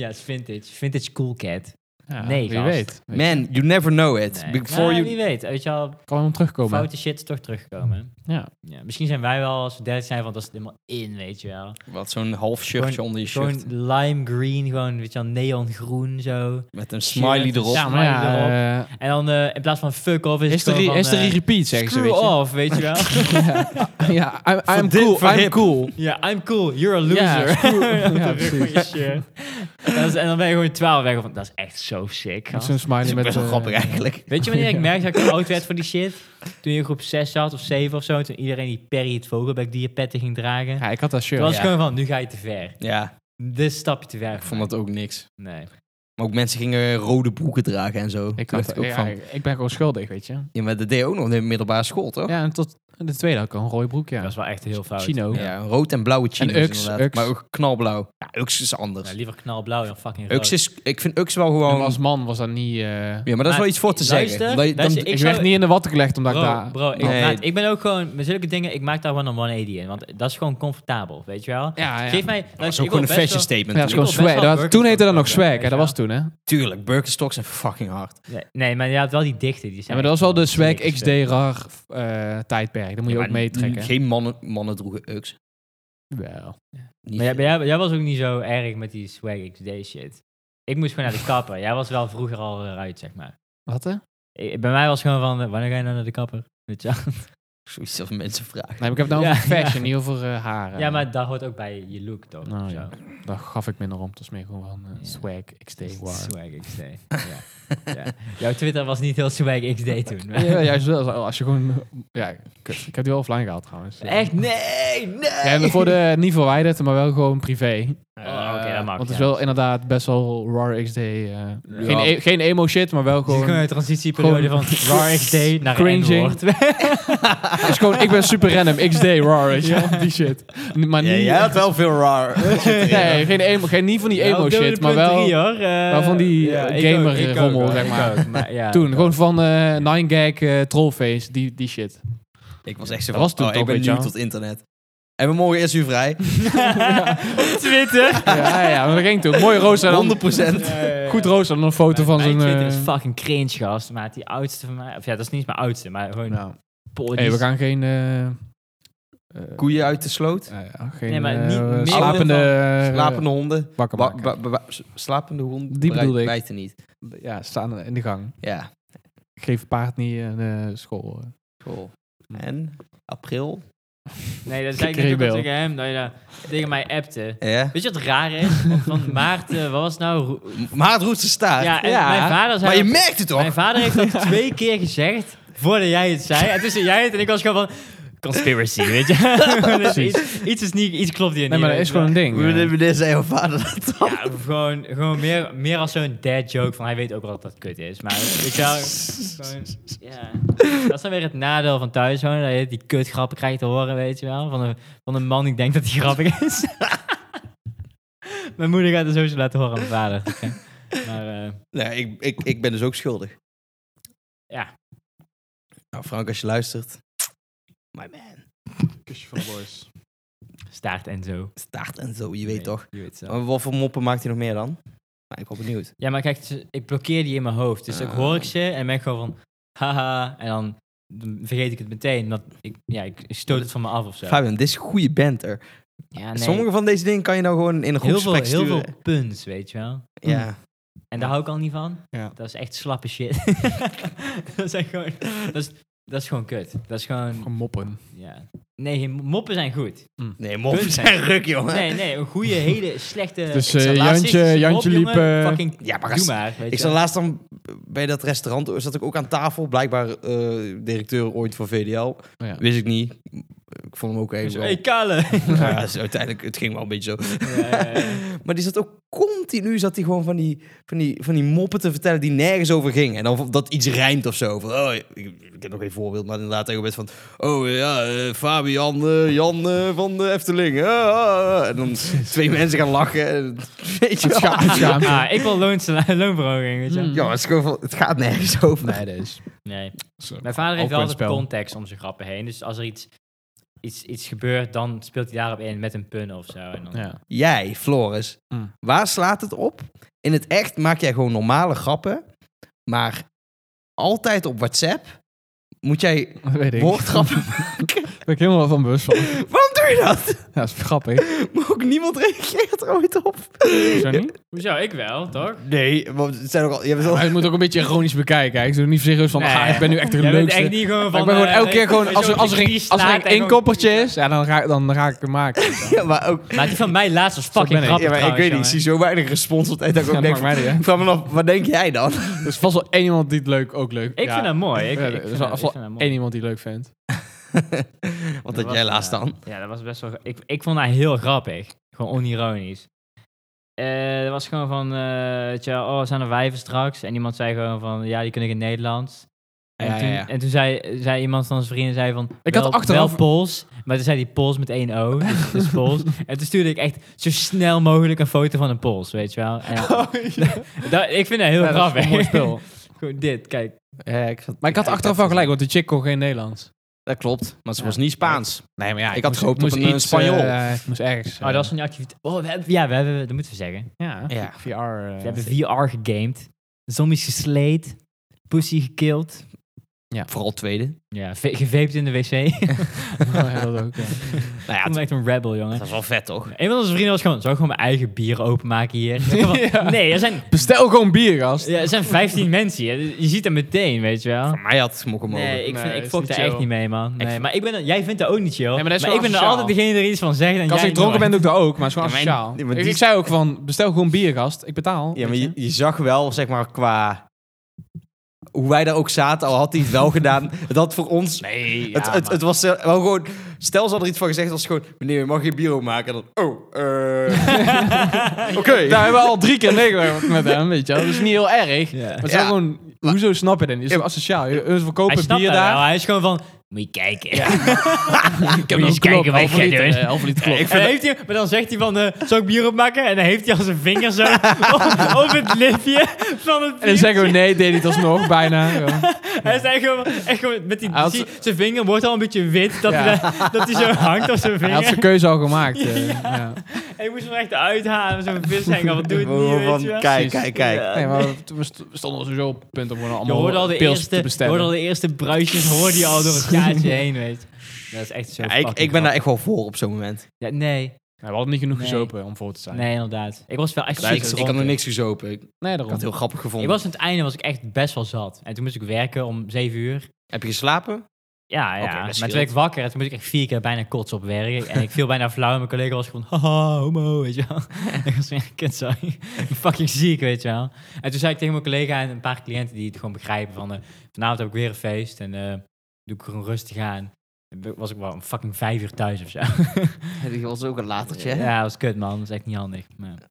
ja, het is vintage. Vintage cool cat. Ja, Nee, wie gast. weet. Weet je, Man, you never know it. Nee. Before Ja, you... Wie weet, weet je wel, Kan hem terugkomen. foute shit is toch teruggekomen. Ja. Ja, misschien zijn wij wel, als we 30 zijn, van dat is het helemaal in, weet je wel. Wat, zo'n half shirtje Gewoon- onder je shirt. Gewoon lime green, gewoon, weet je wel, neon groen zo. met een smiley shirt, erop. ja. Ja, maar ja, eh, En dan eh, in plaats van fuck off is, is het er gewoon die- van, is er eh, die repeat, zeggen ze, Screw weet je. off, weet je wel. Ja, I'm, I'm dit cool, I'm verhip. cool. Ja, I'm cool, you're a Ja, loser. screw- Op de ja, rug van je precies. shirt. Dat is- en dan ben je gewoon 12 weg van, dat is echt zo sick. Met gast. zo'n Dat smiley is met... best wel eh, grappig eigenlijk. Weet je wanneer ik merkte dat ik oud werd voor die shit? Toen je in groep 6 zat of 7 of zo. Toen iedereen die Perry het vogelbek dierpetten ging dragen. Ja, ik had dat Toen shirt. was ik Ja. gewoon van, nu ga je te ver. Ja, Dit stapje te ver. ik vond dat ook niks. Nee. Maar ook mensen gingen rode broeken dragen en zo. Ik, Toen had, Oh. dacht ik ook ja, van... ik ik ben gewoon schuldig, weet je. Ja, maar dat deed je ook nog in de middelbare school, toch? Ja, en tot En de tweede had ik een rode broek, ja. Dat is wel echt heel fout. Chino. Ja, Ja. een rood en blauwe chino's Ux, inderdaad. Ux. Maar ook knalblauw. Ja, Ux is anders. Ja, liever knalblauw dan fucking rood. Ux is, ik vind Ux wel En gewoon... als man was dat niet... eh, Ja, maar dat is Maar wel iets voor te luister, zeggen. Dat je- dan- luister, ik Ik werd zou- niet in de watten gelegd omdat ik Bro, daar... bro ik, Nee. maak- ik ben ook gewoon, met zulke dingen, ik maak daar gewoon een 180 in. Want dat is gewoon comfortabel, weet je wel? Ja, ja. Geef mij... dat is luister, ook ik gewoon een wil fashion best wel- statement. Ja, dat is gewoon Ik wil best swag. wel Dat- burgers toen heette dat nog kopen, swag, hè. weet Dat je was toen, hè. Tuurlijk, Birkenstocks zijn fucking hard. Nee, Nee, maar je had wel die dichte. Die Ja, zijn maar dat was wel de echt gewoon swag dik als XD shit. rar eh, tijdperk. Dat moet je Ja, ook maar meetrekken. Geen mannen, mannen droegen Ux. Wel. Niet Maar jij, maar jij- jij was ook niet zo erg met die swag XD shit. Ik moest gewoon naar de kapper. Jij was wel vroeger al eruit, zeg maar. Wat, hè? Ik- bij mij was gewoon van, eh, wanneer ga je nou naar de kapper? Weet je wel? Zoiets als mensen vragen. Nee, maar ik heb het nou Ja, over fashion, ja. niet over eh, haren. Ja, maar dat hoort ook bij je look, toch? Nou, Zo. ja. Daar gaf ik minder om. Het was meer gewoon van eh, Ja. swag XD war. Swag XD. ja. Ja. Jouw Twitter was niet heel swag XD toen. Ja, ja, juist wel. Als je gewoon... eh, Ja, kut. Ik heb die wel offline gehaald, trouwens. Echt? Nee! Nee! Ja, en voor de... Niet verwijderd, maar wel gewoon privé. Oh, oké, dat maakt Want het is ja. wel inderdaad best wel rar XD. eh, Geen, Ja. e- geen emo shit, maar wel Het is gewoon... gewoon een transitieperiode gewoon- van raar XD naar Cringing. N-woord. Ja, Het is gewoon, ik ben super random, XD rar, weet je wel, die shit. N- Maar niet... wel veel raar. nee, geen emo, geen, niet van die emo op de shit, maar punt wel... drie, hoor. Eh, wel van die, ja, eh, ik ook, gamer ik ook, rommel, hoor. zeg Ik maar. ook, maar ja, Toen, ik gewoon ook. van eh Nine Gag, eh, Trollface, die, die shit. Ik was echt zo Dat van, was toen oh, toch, ik ben weet je nu wel. tot internet. En we morgen eerst u vrij. Op Twitter. Ja, ja, maar dat ging toen. Mooi rooster en dan... 100 procent. Goed rooster en dan een foto van Mijn zo'n... Twitter is eh, fucking cringe, gast. Maar die oudste van mij... Of ja, dat is niet mijn oudste, maar gewoon... nou. Paul, die Hey, we is- gaan geen... eh, eh, Koeien uit de sloot. eh, ja, geen Nee, maar eh, niet meer slapende... dan- eh, Slapende honden. bakken Wa- maken. wa- wa- wa- s- slapende honden. Die bedoelde ik. Bijten niet. ja, staan in de gang. Ja. Geef paard niet een eh, school. eh. Cool. En? April? Nee, dat zei ik net ook al Kriebel. tegen hem, dat je dat tegen mij appte. Ja. Weet je wat raar is? Want Van Maarten, wat was het nou... Ro- Maar het roet ze staart. Ja, en Ah, ja. mijn vader zei... Maar je dat- merkt het mijn toch? vader heeft dat twee keer gezegd, voordat jij het zei. En tussen jij het en ik was gewoon van... Conspiracy, weet je? Dus iets, iets, is niet, iets klopt hier Nee, niet. maar dat is weet je gewoon een ding. eh. Meneer- Meneer zei jouw vader dat toch? Ja, gewoon, gewoon meer, meer als zo'n dad joke van hij weet ook wel dat dat kut is. Maar weet je wel, gewoon, ja. Dat is dan weer het nadeel van thuis wonen, dat je die kutgrappen krijgt te horen, weet je wel. Van een, van een man die denkt dat die grappig is. mijn moeder gaat het sowieso laten horen aan mijn vader. Maar eh, Nee, ik, ik, ik ben dus ook schuldig. Ja. Nou, Frank, als je luistert. My man. Kusje van de boys. staart en zo. Staart en zo, je weet Nee, toch. Je weet het wel. Maar wat voor moppen maakt hij nog meer dan? Nou, ik ben benieuwd. Ja, maar kijk, ze- ik blokkeer die in mijn hoofd. Dus dan Ah. hoor ik ze en ben ik gewoon van, haha. En dan vergeet ik het meteen. Dat ik, ja, ik, ik stoot het van me af of zo. Fabian, dit is goede banter. Ja, nee. Sommige van deze dingen kan je nou gewoon in een heel veel, groepsgesprek heel sturen. veel punts, weet je wel. Ja. En daar hou ik al niet van. Ja. Dat is echt slappe shit. dat, is echt gewoon, dat, is, dat is gewoon kut. Dat is gewoon, Moppen. ja. Nee, geen- moppen zijn goed. Nee, moppen Punt. zijn ruk, jongen. Nee, nee, een goede, hele slechte... Dus, Ik zal eh, laatst Jantje- zitten, Jantje op, liep, jongen. eh, Fucking, Ja, maar doe gast, maar, weet Ik je zat wel. laatst dan bij dat restaurant, zat ik ook aan tafel. Blijkbaar eh, directeur ooit van Oh VDL. Ja. Wist ik niet. Ik vond hem ook even wel... Hey, Kale! Ja, dus uiteindelijk, het ging wel een beetje zo. Ja, ja, ja. Maar die zat ook continu zat hij gewoon van die, van, die, van die moppen te vertellen die nergens over gingen. En dan dat iets rijmt of zo. Van, oh, ik, ik heb nog geen voorbeeld, maar inderdaad tegen best van... Oh ja, eh, Fabian, eh, Jan eh, van de Efteling. eh, ah, ah. en dan twee mensen gaan lachen. En, weet je wel. Ah, ik wil loons- loonverhoging, weet je wel. Hmm. Ja, maar het, is gewoon van, het gaat nergens over. Nee, dat is... Nee. zo. Mijn vader heeft wel altijd Awkward spel. context om zijn grappen heen. Dus als er iets, iets, iets gebeurt, dan speelt hij daarop in met een pun of zo. En dan, Ja. Jij, Floris, Mm. waar slaat het op? In het echt maak jij gewoon normale grappen. Maar altijd op WhatsApp moet jij Dat weet ik. woordgrappen Daar ben ik helemaal van bewust van. Waarom doe je dat? Ja, dat is grappig. Maar ook niemand reageert er ooit op. Zo niet? Hoezo? Ik wel, Oh toch? Nee, want het zijn ook al... Je hebt al Maar je moet ook een beetje ironisch bekijken. hè. Ik doe niet serieus van, Nee. ah, ik ben nu echt de Jij bent leukste. echt niet gewoon Maar van... ik ben gewoon eh, elke keer weet- gewoon, weet als je er, wel, als er, die een, knie als er slaat een en gewoon- inkoppertje is, ja, dan, ga, dan raak ik hem maken. Ja, maar ook... Maar die van mij laatst was fucking ben ik. grappig Ja, maar ik weet niet, ik trouwens, zie zo weinig respons op tijd dat ik ook Ja, denk maakt mij niet van... uit. Van me af, wat denk jij dan? Er is vast wel één iemand die het leuk ook leuk jongen. Ik vind dat mooi. Ik, Ja, ik er vind is dat- vast ik wel vind dat mooi. één iemand die het leuk vindt. Want Dat dat was, jij laatst eh, dan. Ja, dat was best wel... Ik, ik vond dat heel grappig. Gewoon onironisch. Eh dat was gewoon van, eh weet je wel, oh, zijn er wijven straks? En iemand zei gewoon van, ja, die kunnen ik in Nederlands. En, Ja, toen, ja, ja. en toen zei, zei iemand van zijn vrienden zei van... Ik wel, had achteraf- Wel Pools, maar toen zei hij Pools met één O, dus, dus Pools. En toen stuurde ik echt zo snel mogelijk een foto van een Pools, weet je wel. En, Oh, dat, ik vind dat heel Ja, dat is grappig. een mooi spul. Gewoon dit, kijk. Ja, ik zat- Maar ik had ja, achteraf wel gelijk, want die chick kon geen Nederlands. Dat klopt, maar ze Ja. was niet Spaans. Nee, maar ja, ik had moest- gehoopt op moest een, eh, iets, Spanjool. eh, ik moest ergens. Oh, dat was van die activiteit. Oh, we hebben, ja, we hebben, dat moeten we zeggen. Ja, Ja. VR. eh, We hebben VR gegamed, zombies gesleed, pussy gekild, Vooral tweede. ja, ve- gevaped in de wc. ja, dat ook, ja. Nou ja, Ik het- ben echt een rebel, jongen. dat was wel vet, toch? Een van onze vrienden was gewoon, zou ik gewoon mijn eigen bier openmaken hier? Nee, er zijn, Bestel gewoon bier, gast. ja, er zijn 15 mensen hier. Je ziet dat meteen, weet je wel. Van mij had het mogen mogen. Nee, ik, vind, Nee, ik is fok niet daar chill. echt niet mee, man. Nee, Ik- maar ik ben, er- jij vindt dat ook niet chill. maar dat is maar wel ik ben er asociaal. altijd degene die er iets van zegt. En Als jij ik dronken ben, nooit. doe ik dat ook, maar het is gewoon Ja, maar- asociaal. nee, maar ik, die- ik zei ook van, bestel gewoon bier, gast. Ik betaal. Ja, maar weet je, je zag wel, zeg maar, qua... Hoe wij daar ook zaten, al had hij het wel gedaan. Dat voor ons... Nee, het, het, het was eh, wel gewoon... Stel, ze hadden er iets van gezegd. was het gewoon, meneer, je mag geen bier maken. En dan, oh, eh, oké. Daar hebben we al drie keer meegewerkt met hem, weet je wel. Dat is niet heel erg. Ja. Maar het is wel Ja. gewoon, hoezo snap je dit? niet? Is het asociaal? Je- Ze Hij verkopen snapt bier dat wel. daar. Hij is gewoon van, moet je kijken. Ik heb Moet een eens kijken wat klok, ik halve ga liter, doen. eh, halve liter klok. Ik En vind dan heeft hij, maar dan zegt hij van, eh zal ik bier opmaken? En dan heeft hij al zijn vinger zo op, op het lipje van het En dan zeggen we, nee, deed niet alsnog, bijna. Ja. Hij is echt gewoon, echt gewoon met die, Hij had zie- zijn vinger wordt al een beetje wit, dat, Ja. hij, daar- dat hij zo hangt op zijn Hij had vinger. zijn keuze al gemaakt. eh, ja. En ik moest hem echt uithalen, zo'n vishengel, wat doe het niet, weet je wel. Kijk, Precies. kijk, kijk. Ja. Nee, maar we- we st- we stonden sowieso op het punt om gewoon Je allemaal hoorde al de pils te eerste, je bestellen. hoorde al de eerste bruisjes, hoorde je al door het kaartje heen, weet je. Dat is echt zo Ja, ik, fucking ik ben daar grappig. echt wel voor op zo'n moment. Ja, nee, Nee, we hadden niet genoeg Nee. gezopen om voor te zijn. nee, inderdaad. Ik was wel echt Dus ik, ziek ik had nog dronken. niks gezopen. Ik had nee het daarom. heel grappig gevonden. Ik was aan het einde was ik echt best wel zat. En toen moest ik werken om 7 uur. Heb je geslapen? Ja, Oké, ja. dat maar toen scheelt. werd ik wakker en toen moest ik echt vier keer bijna kots op werken. En ik viel bijna flauw en mijn collega was gewoon, haha, homo, weet je wel. ik was van, ja, kut, sorry. Ik ben fucking ziek, weet je wel. En toen zei ik tegen mijn collega en een paar cliënten die het gewoon begrijpen van, eh, vanavond heb ik weer een feest en eh, doe ik gewoon rustig aan. En Was ik wel om fucking vijf uur thuis of zo. Dat was ook een latertje. hè? ja, dat was kut, man. Dat is echt niet handig. Maar Het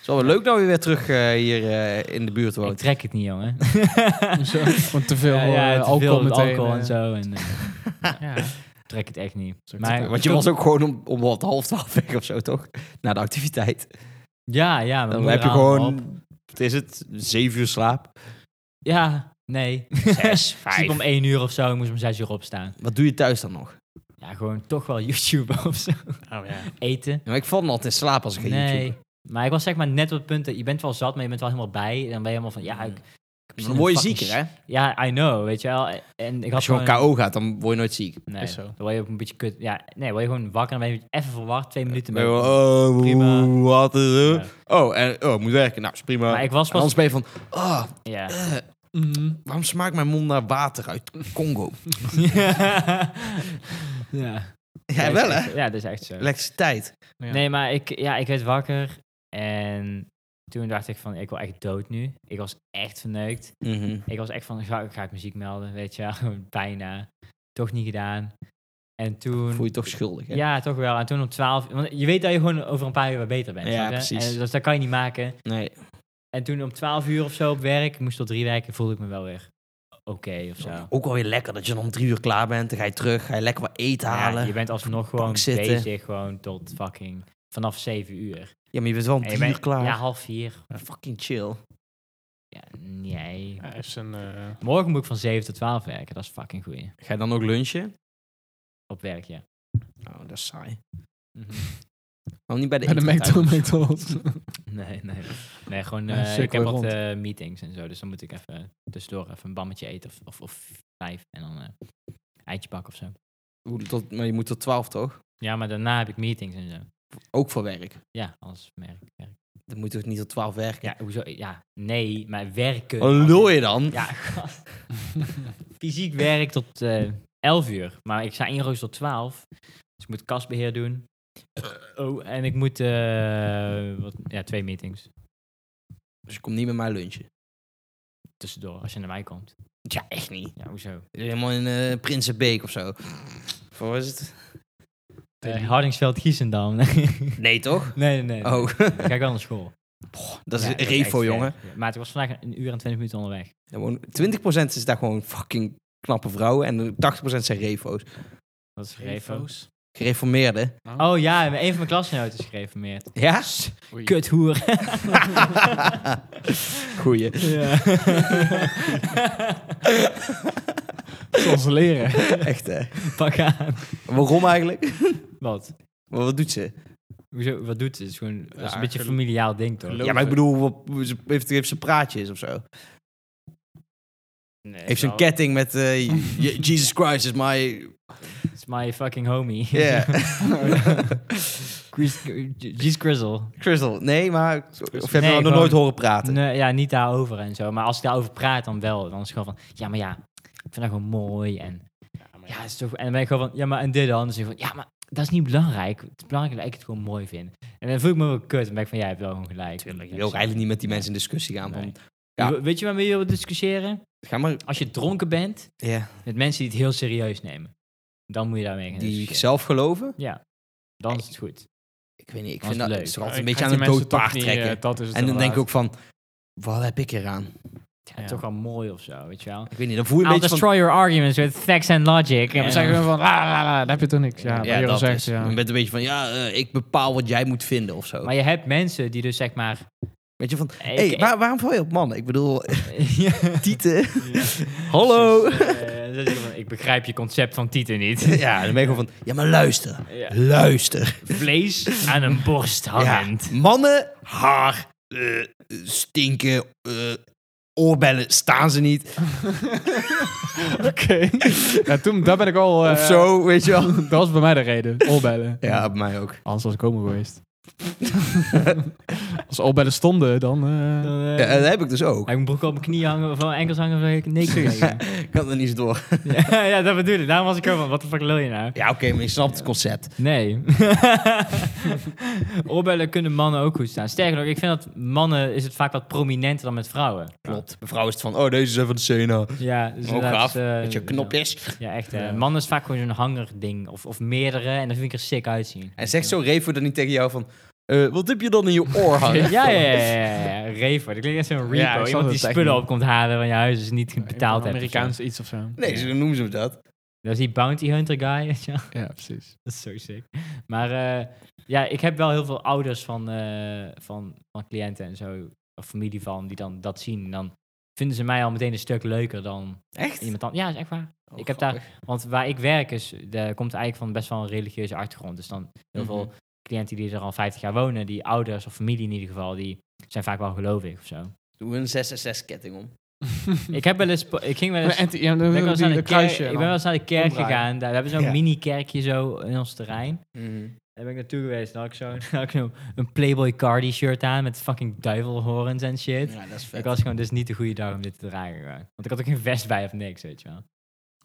is wel weer leuk dat je weer terug eh, hier eh, in de buurt ik woont. trek het niet, jongen. Zo, want te veel Ja, ja, te eh, alcohol veel met meteen. alcohol eh. en zo. En, eh, Ja. ik trek het echt niet. Zo, ik Maar, trek Want je was ook gewoon om, om wat half twaalf weg of zo, toch? Na de activiteit. ja, ja. mijn Dan moeder heb je haalde me gewoon, op. wat is het, zeven uur slaap. Ja, nee. Zes, Ik sliep om één uur of zo, ik moest om zes uur opstaan. Wat doe je thuis dan nog? Ja, gewoon toch wel YouTube of zo. Eten. Ja, maar ik val dan altijd in slaap als ik ga Nee. YouTube. Maar ik was zeg maar net op het punt dat je bent wel zat, maar je bent wel helemaal bij. En dan ben je helemaal van, ja, ik, ik heb zin Dan in word je fucking zieker, hè? sh- Ja, I know, weet je wel. En ik had Als je gewoon gewoon- KO gaat, dan word je nooit ziek. Nee, Is zo. dan word je ook een beetje kut. Ja, nee, word je gewoon wakker en dan ben je even verward, twee minuten. Dan ben ben je- je wel, oh, Prima. wat is Ja. er? Oh, en, oh, moet werken. Nou, is prima. Maar ik was En anders pas... ben je van, ah, Ja. Mm. waarom smaakt mijn mond naar water uit Congo? ja. Ja, wel hè? Ja, dat is echt zo. Elektriciteit. Ja. Nee, maar ik, ja, ik werd wakker en toen dacht ik van, ik wil echt dood nu. Ik was echt verneukt. Ik was echt van, ga, ga ik muziek melden, weet je wel. Gewoon Bijna. Toch niet gedaan. En toen... Voel je toch schuldig, hè? ja, toch wel. En toen om 12 uur- Want je weet dat je gewoon over een paar uur weer beter bent. Ja, snap je? precies. En, dus dat kan je niet maken. Nee. En toen om 12 uur of zo op werk, ik moest tot drie werken, voelde ik me wel weer oké of zo. Ook wel weer lekker dat je dan om drie uur klaar bent. Dan ga je terug, ga je lekker wat eten Maar ja, halen. je bent alsnog gewoon bank zitten. bezig gewoon tot fucking vanaf 7 uur. Ja, maar je bent wel om En je drie bent- uur klaar. Ja, half vier. Fucking chill. Ja, nee. Hij is een, eh, Morgen moet ik van 7 tot 12 werken. Dat is fucking goeie. Ga je dan ook lunchen? Op werk, ja. Oh, dat is saai. Mhm. Waarom niet bij de, bij de eettijd? McDonald's. McDonald's. Nee, nee. Nee, gewoon... Ja, eh, cirkel ik heb weer wat rond. eh, meetings en zo. Dus dan moet ik even tussendoor even een bammetje eten. Of, of, of vijf. En dan eh eitje bakken of zo. Hoe- tot, maar je moet tot twaalf, toch? Ja, maar daarna heb ik meetings en zo. Ook voor werk. Ja, anders merk ik werk. Dan moet je toch niet tot twaalf werken? Ja, hoezo? Ja, nee, maar werken... Wat lul je dan? Oh, Ja, gast. Fysiek werk tot eh 11 uur. Maar ik sta ingeroosterd tot 12. Dus ik moet kasbeheer doen. Oh, en ik moet... eh, wat, ja, twee meetings. Dus je komt niet met mij lunchen. tussendoor als je naar mij komt. Ja, echt niet. Ja, hoezo? Helemaal in eh, Prinsenbeek of zo. Voor is het? Eh Hardingsveld Giesendam. Nee, toch? nee, nee, nee. Oh, Dan ga ik wel naar school. dat is eh, Ja, een echt refo, ver. jongen. Ja, Maar ik was vandaag een uur en twintig minuten onderweg. Gewoon 20% is daar gewoon fucking knappe vrouwen en 80% zijn refo's. Dat is gereformeerd. Gereformeerden. Oh ja, een van mijn klasgenoten is gereformeerd. Ja? Oei. Kuthoer. Goeie. Ja. Zoals ze leren. Echt, hè? Pak aan. Waarom eigenlijk? Wat? Maar wat doet ze? Hoezo, wat doet ze? Het is gewoon dat is Ja, een beetje een gel- familiaal ding, toch? geloof- Ja, maar ik bedoel, wat- ze- heeft, heeft ze praatjes of zo? Nee, Heeft ze een wel. ketting met eh, Je- Jesus Christ is my... It's my fucking homie. Yeah. Chris, G's Grizzle. Crystal. Nee, maar... Of heb je Nee, haar nog gewoon- nooit horen praten? Nee, ja, niet daarover en zo. Maar als ik daarover praat, dan wel. Dan is het gewoon van, ja, maar ja, ik vind dat gewoon mooi. En ja, het is toch, en dan ben ik gewoon van, ja, maar en dit dan. Dan zeg ik van, ja, maar dat is niet belangrijk. Het is belangrijk dat ik het gewoon mooi vind. En dan voel ik me wel kut. Dan ben ik van, jij hebt wel gewoon gelijk. Tuurlijk, je Ja, wil ook zo. eigenlijk niet met die mensen in discussie gaan. Nee. want- ja. We- Weet je waarmee je wilt discussiëren? Ga maar... Als je dronken bent, Ja. met mensen die het heel serieus nemen. Dan moet je daarmee gaan Die discussiëren. zelf geloven? Ja, dan is het goed. Ik weet niet, ik Dat vind is dat... leuk. Het is altijd een Ik beetje ga aan die het mensen dood toch paard niet, trekken. eh, dat is het en dan denk ik ook inderdaad. van... Wat heb ik eraan? Ja, Ja. Toch wel mooi of zo, weet je wel. Ik weet niet, dan voel je een I'll beetje van... destroy your arguments with facts and logic. Ja, En we zeggen dan- gewoon van, la la la, daar heb je toch niks. Ja, wat je al dat zegt, is. ja. Je bent een beetje van, ja, eh, ik bepaal wat jij moet vinden of zo. Maar je hebt mensen die dus zeg maar... Weet je, van, Hey, hey, ik- waar- waarom val je op mannen? Ik bedoel, Ja. tieten. Hallo. Dus, eh, dan zeg ik van, ik begrijp je concept van tieten niet. ja, dan ben je gewoon van, ja, maar luister. Ja. Luister. Vlees aan een borst Ja. hangend. Mannen, haar, eh, stinken, eh, oorbellen, staan ze niet. Oké. Ja, toen, daar ben ik al... eh, of zo, weet je wel. Dat was bij mij de reden. Opbellen. Ja, bij mij ook. Anders was ik homo geweest. Als ze opbellen stonden, dan... eh, Dan, eh, Ja, dat heb ik dus ook. Hij moet broek op mijn knie hangen of op mijn enkels hangen of ik nee zeggen. Ik kan er niet eens door. ja, ja, dat bedoel ik. Daarom was ik ook van, wat de fuck lul je nou? Ja, oké, maar je snapt het concept. Nee. Oorbellen kunnen mannen ook goed staan. Sterker nog, ik vind dat mannen is het vaak wat prominenter dan met vrouwen. Klopt. Mevrouw is het van, oh, deze zijn van de Sena. Ja, dus Ook inderdaad, gaaf, eh, met je knopjes. Ja, echt. hè. Mannen is vaak gewoon zo'n hangerding of, of meerdere en dat vind ik er sick uitzien. En zegt zo Revo dan niet tegen jou van, eh, wat heb je dan in je oor hangen? Ja, ja, ja, ja, ja. Revo. Dat klinkt net zo'n repo. Ja, ik snap Iemand het die echt spullen niet. op komt halen van je huis als je niet betaald hebt. of zo. Amerikaans iets of zo. Nee, zo noemen ze dat. Dat is die bounty hunter guy. weet je wel. Ja, precies. dat is zo sick. Maar eh, ja, ik heb wel heel veel ouders van, eh, van, van cliënten en zo, of familie van, die dan dat zien. En dan vinden ze mij al meteen een stuk leuker dan Echt? iemand anders. Ja, is echt waar. Oh, Ik heb grappig. Want waar ik werk is, de, komt eigenlijk van best wel een religieuze achtergrond. Dus dan heel Mhm. veel cliënten die er al 50 jaar wonen, die ouders of familie in ieder geval, die zijn vaak wel gelovig of zo. Doe een 666-ketting om. ik heb wel eens, po- ik ging wel Maar eens, en die- ja, dus dan ben ik wel die- eens naar de dat kerk, kruisje ik ben dan. wel eens naar de kerk omdraaien. gegaan. Daar we hebben zo'n Ja. mini-kerkje zo in ons terrein. Daar ben ik naartoe geweest. Dan had ik zo'n had ik zo'n- een Playboy Cardi shirt aan met fucking duivelhorens en shit. Ja, dat is Ik vet. was gewoon dus niet de goede dag om dit te dragen. gewoon. Want ik had ook geen vest bij of niks, weet je wel.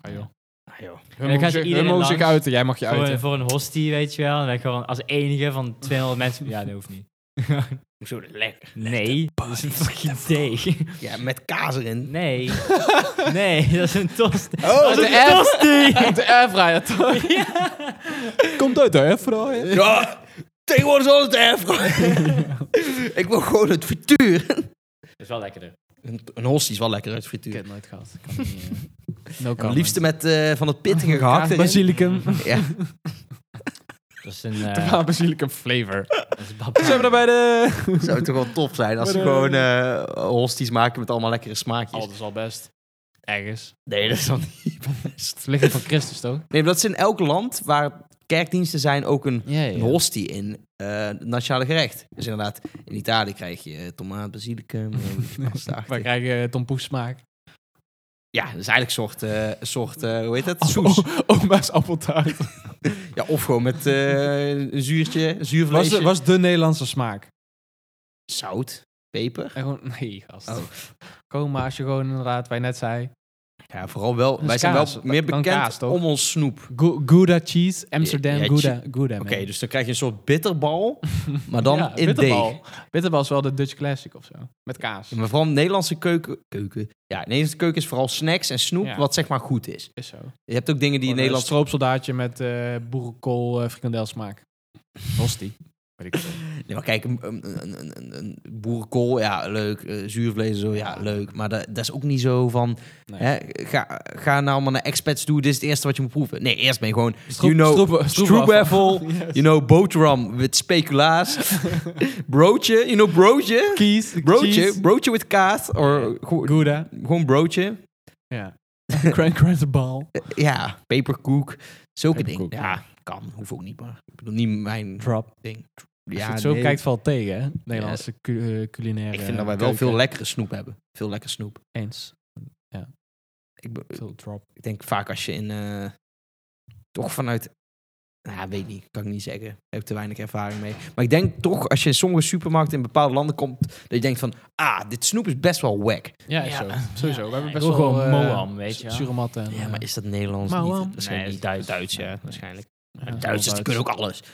Ah, joh. Ah, joh. Hun dan mogen gaat zich- iedereen hun mogen zich langs. uiten, jij mag je Voor een, uiten. voor een hostie, weet je wel. En dan ben ik gewoon als enige van 200 mensen... Ja, dat hoeft niet. Zo lekker. Nee, dat is een fucking deeg. Ja, met kaas erin. Nee. Nee, dat is een tost. Oh, dat is de een F. tosti! De airfryer toch? Ja. Komt uit de airfryer. Ja, tegenwoordig is alles Ik wil gewoon het frituur. Dat is wel lekkerder. Een, een hostie is wel lekker uit frituur. heb nooit gehad. eh, No Het liefste met eh, van het pittige gehakt erin. Basilicum. Ja. Dat is een... eh, Ja, basilicum flavor. dat is bab- Zijn we er bij de... Zou toch wel top zijn als ze Maar, gewoon eh hosties maken met allemaal lekkere smaakjes. is al best. Ergens. Nee, dat is dan niet best. Het lichaam van Christus toch? Nee, maar dat is in elk land waar kerkdiensten zijn ook een, Ja, een hostie in eh, het nationale gerecht. Dus inderdaad, in Italië krijg je eh, tomaat, basilicum, eh, pasta. Wij krijgen eh, tompoes smaak. Ja, dat is eigenlijk een soort, eh, een soort eh, hoe heet dat? Soes. Soes. Oma's appeltaart. Ja, of gewoon met eh, een zuurtje, een Was zuurvleesje. de, was de Nederlandse smaak. Zout, peper. En gewoon, nee gast. Oh. Kom maar als je gewoon inderdaad, wij net zei. Ja, vooral wel. is Wij zijn wel kaas. meer Dat kan bekend kaas, toch? om ons snoep. Oké, Gu- Gouda cheese, Amsterdam Ja, ja, Gouda. Gouda man. dus dan krijg je een soort bitterbal, maar dan Ja, in bitterbal. deeg. Bitterbal is wel de Dutch classic of zo. Met kaas. Ja, maar vooral Nederlandse keuken, keuken. Ja, Nederlandse keuken is vooral snacks en snoep, Ja. wat zeg maar goed is. Is zo. Je hebt ook dingen die in Nederlands Nederland... stroopsoldaatje met eh boerenkool eh frikandelsmaak. Hostie. Weet ik veel. Nee, maar kijk, een, een, een, een- een, een boerenkool, ja, leuk. Eh, zuurvlees en zo, ja, leuk. Maar dat, dat is ook niet zo van... Nee. Hè, ga, ga nou maar naar expats toe, dit is het eerste wat je moet proeven. Nee, eerst ben je gewoon... Stroop- you know, stroop- stroopwafel, stroopwafel. Yes. you know, boterham with speculaas. broodje, you know, broodje. Kies, Broodje, broodje with kaas. Or, gewoon- Gouda. gewoon broodje. Ja. Crank crank bal. Eh, ja, paperkoek. Zulke dingen. Peperkoek, Ja, kan. Hoeft ook niet, maar ik bedoel niet mijn Drop. ding. Als Ja, je het zo nee. kijkt valt tegen, hè? Nederlandse cu- eh, culinaire Ik vind dat wij wel keuken. veel lekkere snoep hebben. Veel lekkere snoep. Eens. Ik, be- Veel drop. ik denk vaak als je in... eh, toch vanuit... Nou, weet niet. Kan ik niet zeggen. Ik heb te weinig ervaring mee. Maar ik denk toch, als je in sommige supermarkten in bepaalde landen komt... Dat je denkt van, ah, dit snoep is best wel wack. Ja, Ja. is zo. sowieso. We hebben Ik best wil wel... gewoon eh, Moam, weet je wel. Suramatten. en, Ja, eh, maar is dat Nederlands Maar niet? wel. Waarschijnlijk Nee, niet. dat is Duits- Duits, ja, Waarschijnlijk. ja, Duitsers, die Duits. kunnen ook alles. Die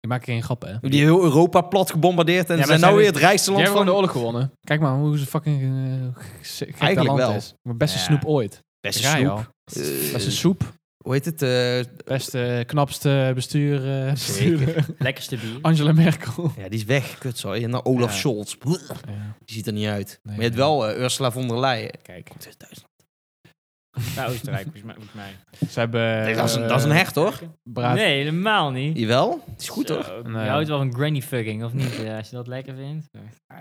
Die maken geen grappen, hè? hebben heel Europa plat gebombardeerd... en Ja, maar zijn zijn nou we- weer het rijkste Jij land hebt gewoon van... de oorlog gewonnen. Kijk maar hoe ze fucking eh, gek dat Eigenlijk land wel. is. Mijn beste Ja. snoep ooit. Beste Daar ga je snoep. al. Eh, Beste soep. hoe heet het? eh, Beste, knapste bestuur. eh, Zeker. bestuurder. Lekkerste bier. Angela Merkel. ja, die is weg. Kut, sorry. En dan Olaf Ja. Scholz. Brrr, Ja. Die ziet er niet uit. maar je nee. hebt wel eh, Ursula von der Leyen. Kijk, Komt uit Duitsland. nou Oostenrijk, volgens mij- volgens mij. Ze hebben... Nee, dat, is een, eh, dat is een hecht, hoor. braad- Nee, helemaal niet. Jawel. Het is goed, Zo, hoor. Je Nee. houdt wel van granny fucking, of niet? eh, als je dat lekker vindt.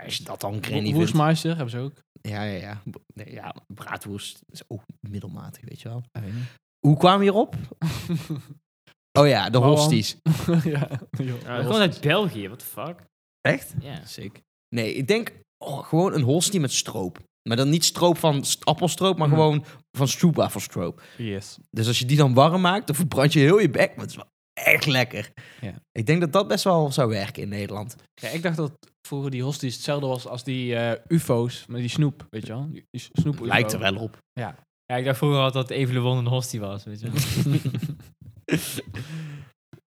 Als je dat dan Wo- granny vindt. Woestmeister hebben ze ook. Ja, ja, ja. B- Nee, ja, braadwoest is ook middelmatig, weet je wel. Hoe kwamen we hierop? Oh ja, de Waarom? hosties. ja. joh. Ja, dat komt uit België, what the fuck? Echt? Ja. Sick. Nee, ik denk oh, gewoon een hostie met stroop. Maar dan niet stroop van st- appelstroop, maar Mhm. gewoon van stroopwafelstroop. Yes. Dus als je die dan warm maakt, dan verbrand je heel je bek. Maar het is wel echt lekker. Ja. Ik denk dat dat best wel zou werken in Nederland. Ja, ik dacht dat vroeger die hosties hetzelfde was als die eh, ufo's met die snoep, weet je wel? Die, die snoep Lijkt er wel op. Ja, ik dacht vroeger altijd dat Evelewon een hostie was, weet je wel.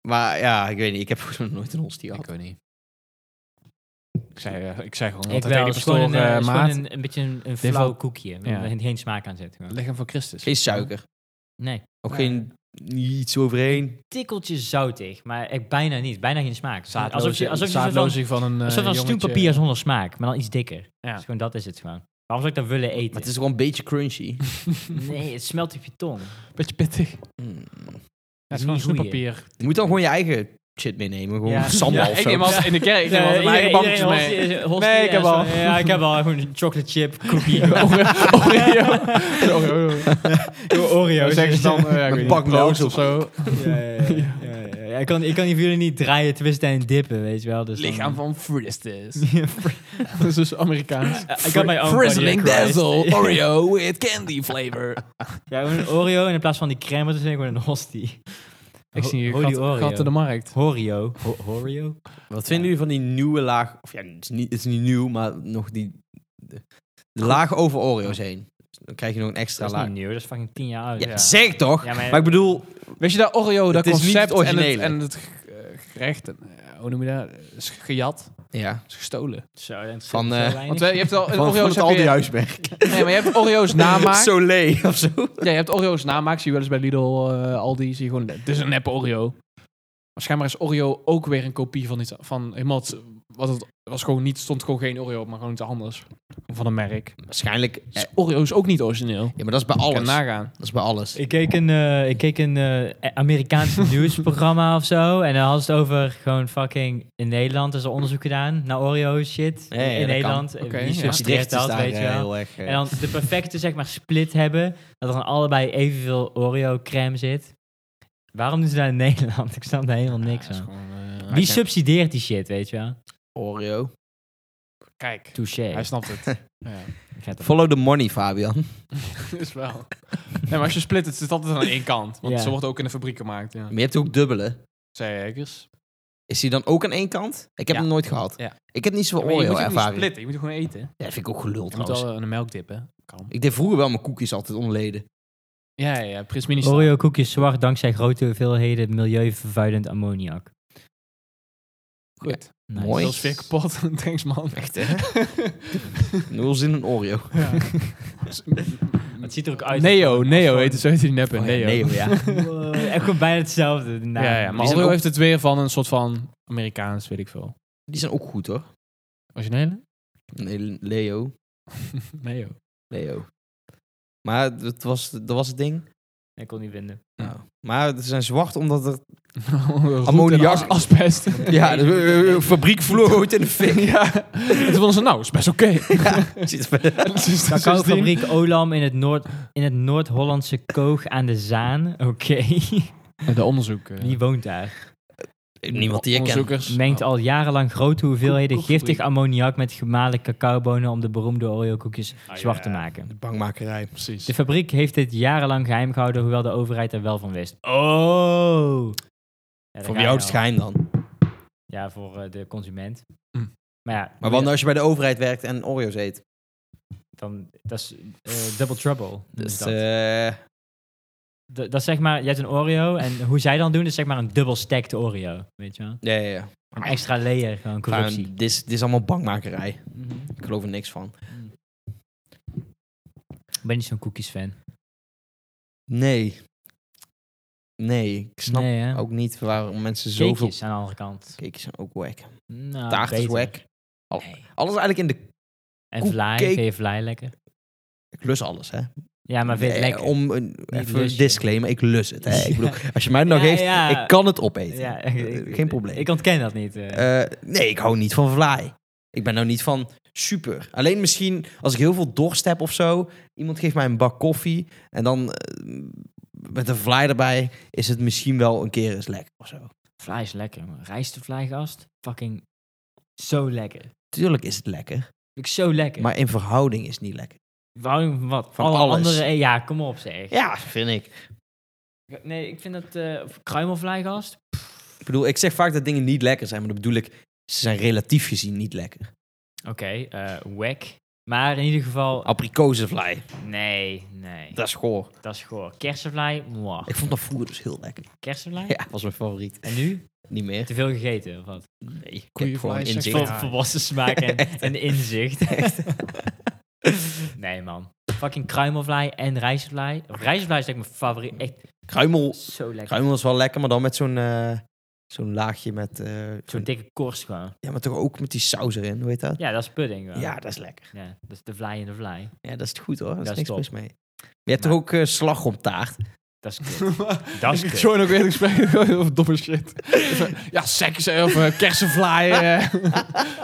Maar ja, ik weet niet. Ik heb volgens mij nog nooit een hostie gehad. ik weet niet. Ik zei, eh, ik zei gewoon Ik altijd tegen wel, die het is gewoon een, pastoor, eh, eh, is gewoon maat, een, een beetje een, een Dit flauw wel- koekje. Ja. Waar je geen smaak aan zit. gewoon. leg hem voor Christus. Geen suiker. Nee. Ook Ja. geen iets overheen. Tikkeltje zoutig, maar echt bijna niet. Bijna geen smaak. Zaadloze- alsof je, alsof je een soort van, zaadlozing van een een eh, soort van jongetje. stuurpapier zonder smaak, maar dan iets dikker. Ja. Dus gewoon dat is het gewoon. Waarom zou ik dat willen eten? Maar het is gewoon een beetje crunchy. Nee, het smelt op je tong. Beetje pittig. Ja, Mm. het is is gewoon niet goeie. snoeppapier. Je moet dan gewoon je eigen shit meenemen. Gewoon Ja. sambal Ja, of ik zo. neem altijd in de kerk, ik neem altijd mijn eigen Iedereen- babbeltjes mee. iedereen hostie- hostie Nee, ik heb Oh, en zo. al. Ja, ik heb al gewoon een chocolate chip cookie. Oreo. Een Oreo. Oreo. Dan zeggen ze dan, eh, ja, ik Een weet pak niet, noot toast of zo. Ja, ja, ja, ja, ja, ja. Ik kan, ik kan die voor jullie niet draaien, twisten en dippen, weet je wel. Dus dan- Lichaam van Fristis. Dat is dus Amerikaans. Eh, ik had mijn own Frizzling body, Christ. basil Oreo with candy flavor. Ja, gewoon een Oreo en in plaats van die crème ertussen gewoon een hostie. Ik zie Ho- Holy hier gat, Oreo. gat in de markt. Horio. Ho- Horio? Wat vinden jullie van die nieuwe laag... Of ja, het is niet, het is niet nieuw, maar nog die... De, de laag over Oreo's heen. Dan krijg je nog een extra Dat is laag. niet nieuw, dat is fucking tien jaar oud. Ja, Zeg toch? Ja, maar- Maar ik bedoel, Weet je dat Oreo, dat Het is niet concept het en het, originele. en het g- eh, gerecht, en, eh, hoe noem je dat, is gejat, ja, is gestolen. Zo, dat is Van, zo eh, weinig. Want we- je hebt al, in van, van Oreo's het heb Aldi je, Huisberg. nee, maar je hebt Oreo's namaak. Soleil of zo. Ja, je hebt Oreo's namaak, zie je wel eens bij Lidl, eh, Aldi, zie je gewoon, dit is een nep Oreo. Maar schijnbaar is Oreo ook weer een kopie van iets, van helemaal, het- wat het was gewoon niet, stond gewoon geen Oreo op, maar gewoon iets anders. Van een merk. Waarschijnlijk... eh, Dus Oreo is ook niet origineel. Ja, maar dat is bij Kan alles. nagaan. Dat is bij alles. Ik keek een, eh, ik keek een eh, Amerikaans nieuwsprogramma of zo. En dan hadden ze het over gewoon fucking in Nederland. is er onderzoek gedaan naar Oreo shit. Ja, ja, dat in kan. Nederland. Eh, Oké, Wie ja. subsidieert dat, weet je wel. erg... eh, En dan de perfecte zeg maar split hebben. Dat er dan allebei evenveel Oreo crème zit. Waarom doen ze dat in Nederland? Ik snap daar helemaal niks Ja, is van. gewoon, eh, hij Wie kent- subsidieert die shit, weet je wel? Oreo. Kijk, Touché. hij snapt het. ja, Ik ga het- Follow the money, Fabian. is wel. Nee, maar als je split, het zit altijd aan één kant. Want Ja. ze wordt ook in de fabriek gemaakt. Ja. Maar je hebt ook dubbele. Zeikers. Is die dan ook aan één kant? Ik heb Ja. hem nooit gehad. Ja. Ik heb niet zoveel je moet het niet Oreo-ervaring. splitten, je moet het gewoon eten. Ja, vind ik ook gelul Je moet trouwens. wel eh, een melk dippen. Kan. Ik deed vroeger wel mijn koekjes altijd onleden. Ja, ja, ja, Prins Mini Oreo koekjes zwart dankzij grote hoeveelheden milieuvervuilend ammoniak. Goed. Nice. Mooi. Veel sfeer kapot. Thanks, man. Echt, hè? Nul zin in Oreo. Ja. Het ziet er ook uit. Neo, Neo heet het, zo heet die neppen. Oh ja, Neo. Neo, ja. Wow, Echt gewoon bijna hetzelfde. de naam. Ja, ja, maar zijn Oreo ook- heeft het weer van een soort van Amerikaans, weet ik veel. Die zijn ook goed hoor. Originele? Nee, Leo. Neo. Leo. Maar dat was, dat was het ding. Ik kon niet vinden. Nou, maar ze zijn zwart omdat er... Ammoniak. Ammoniak. As asbest. Ja, de eh, eh, fabriek vloeit in de fik. ja. Toen vonden ze, nou, is best oké. Zit verder. Dus sindsdien- Cacaofabriek Olam in het, Noord, in het Noord-Hollandse Koog aan de Zaan. Oké. De onderzoek. eh, Wie woont daar? Niemand die ik ken. Onderzoekers. Mengt al jarenlang grote hoeveelheden Koekfabriek. giftig ammoniak met gemalen cacaobonen om de beroemde Oreo-koekjes zwart te maken. De bangmakerij. Precies. De fabriek heeft dit jarenlang geheim gehouden, hoewel de overheid er wel van wist. Oh! Voor jou is het geheim dan. Ja, voor eh, de consument. Hm. Maar ja, Maar wat nou als je bij de overheid werkt en Oreo's eet? dan, dat is eh, double trouble. noemen ze Dus, dat. eh, D- dat is zeg maar, je hebt een Oreo en hoe zij dan doen is zeg maar een dubbel stacked Oreo. Weet je wel? ja, ja, ja. Een extra layer, gewoon corruptie. Gewoon, Dit is- dit is allemaal bangmakerij. Mhm. Ik geloof er niks van. Ik ben niet zo'n cookies fan. Nee. Nee, ik snap nee, hè? ook niet waarom mensen zoveel... Cakejes aan de andere kant. Cakejes zijn ook wack. Nou, Taart is beter. wack. Al- Nee. Alles eigenlijk in de... En Koek- vlaai, cake- vind je vlaai lekker? Ik lus alles, hè. Ja, maar vind je het Eh, lekker? Om een even lus je. disclaimer, ik lus het. Hè. Ik bedoel, als je mij nog Ja, geeft, ja. ik kan het opeten. Ja, Eh, ik- Geen probleem. Ik ontken dat niet. eh. Eh, nee, ik hou niet van vlaai. Ik ben nou niet van super. Alleen misschien als ik heel veel dorst heb of zo. Iemand geeft mij een bak koffie. En dan eh, met een vlaai erbij is het misschien wel een keer eens lekker of zo. Vlaai is lekker, man. Rijst de vlaaigast, fucking zo lekker. Vind Tuurlijk is het lekker. ik zo lekker. Maar Maar in verhouding is het niet lekker. Verhouding van wat? Van Alle alles. andere... eh, Ja, kom op zeg. Ja, vind ik. Nee, ik vind dat... eh kruimelvlaaigast? Ik bedoel, ik zeg vaak dat dingen niet lekker zijn. Maar dat bedoel ik, ze zijn relatief gezien niet lekker. Oké, eh, wack. Maar in ieder Oh. geval... Abrikozenvlaai, Nee, nee. dat is goor. Dat is goor. Kersenvlaai? Mwah. Ik vond dat vroeger dus heel lekker. Kersenvlaai? Ja, was mijn favoriet. En nu? Niet meer. Te veel gegeten of wat? Nee, ik heb gewoon Koeienvlees, inzicht. Vol, Ja. volwassen smaak en, en inzicht. nee man. Fucking kruimelvlaai en rijstvlaai. Rijstvlaai is denk ik mijn favoriet. Echt Kruimel zo lekker. Kruimel is wel lekker, maar dan met zo'n eh, zo'n laagje met... eh, Zo'n dikke korst gewoon. ja, maar toch ook met die saus erin, hoe heet dat? Ja, dat is pudding Ja, wel. dat is lekker. Ja, dat is de vlaai in de vlaai. Ja, dat is goed hoor. Daar Dat is is niks top. mis mee. Je hebt toch Maar- ook eh, slagroomtaart? Dat is kut. dat is Ik kut. join ook weer een gesprek over domme shit. ja, seks eh, of eh, kersenvlaai. eh.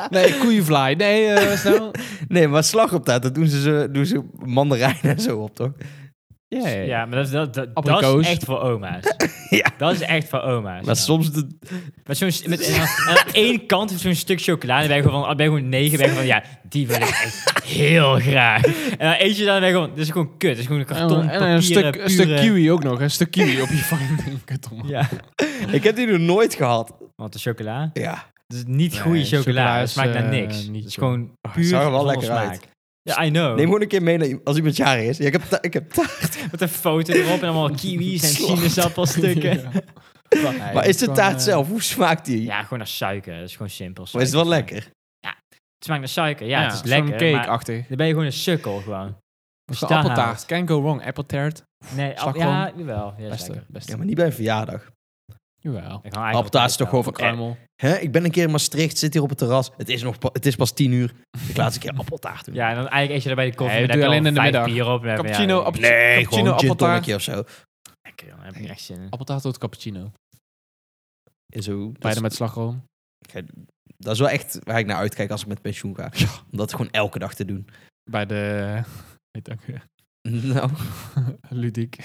nee, koeienvlaai. Nee, eh, snel. Nee, maar slagroomtaart, dat doen ze, zo- doen ze mandarijnen en zo op, toch? Ja, ja. Ja, maar dat, is- dat, dat, dat Abrikoos. is echt voor oma's. Ja. Dat is echt voor oma's. Maar ja. soms... De, Met zo'n, met, en dan- en aan één kant heeft zo'n stuk chocolade. En ben je gewoon van, ah, ben je gewoon negen. Ben je van, ja, die wil ik echt heel graag. En dan eet je dan en ben je gewoon, dit is gewoon kut. Dit is gewoon een En, karton en een, papieren, stuk, een stuk pure- kiwi ook nog. Een stuk kiwi op je fucking karton. Ja, ik heb die nog nooit gehad. want de chocola. Ja. Het is niet Nee, goede chocola chocola. Het is, smaakt naar eh, niks. niet Het is zo. gewoon puur Oh, zag er wel zonder lekker smaak. uit. Ja, I know. Neem gewoon een keer mee naar, als iemand jarig is. Ja, ik heb, ta- ik heb taart. Met een foto erop en allemaal kiwis en Slacht. sinaasappelstukken. Ja. ja. maar is de gewoon, taart eh, zelf, hoe smaakt die? gewoon naar suiker. Dat is gewoon simpel. Maar is het Suiker wel smaakt- lekker? Het smaakt naar suiker. Ja, het is zo'n lekker. maar cake-achtig. dan ben je gewoon een sukkel gewoon. Of Staat. gewoon Appeltaart. Can't go wrong. Appeltaart. Nee, al, Slagroom. ja, jawel. Ja, is Beste. lekker. Eh, beste. Ja, maar niet bij een verjaardag. Jawel. Ik hou eigenlijk Appeltaart is toch gewoon altijd wel. van... eh, Kruimel. Hè, ik ben een keer in Maastricht, zit hier op het terras. Het is, nog pa- het is pas tien uur. Ik laat eens een keer appeltaart doen. Ja, en dan eigenlijk eet je daarbij de koffie. Nee, maar dan doe heb je alleen al in de vijf middag. bier op. en dan heb je- Cappuccino, ja, appel- Nee, Cappuccino, gewoon een gin appeltaart. tonnetje of zo. Lekker, jongen. Daar heb ik echt zin in. Appeltaart tot cappuccino. Dus Is zo. Dat, Beide is, met slagroom. dat is wel echt waar ik naar uitkijk als ik met pensioen ga. Om dat gewoon elke dag te doen. Bij de... Weet ook weer. Nou, Ludiek.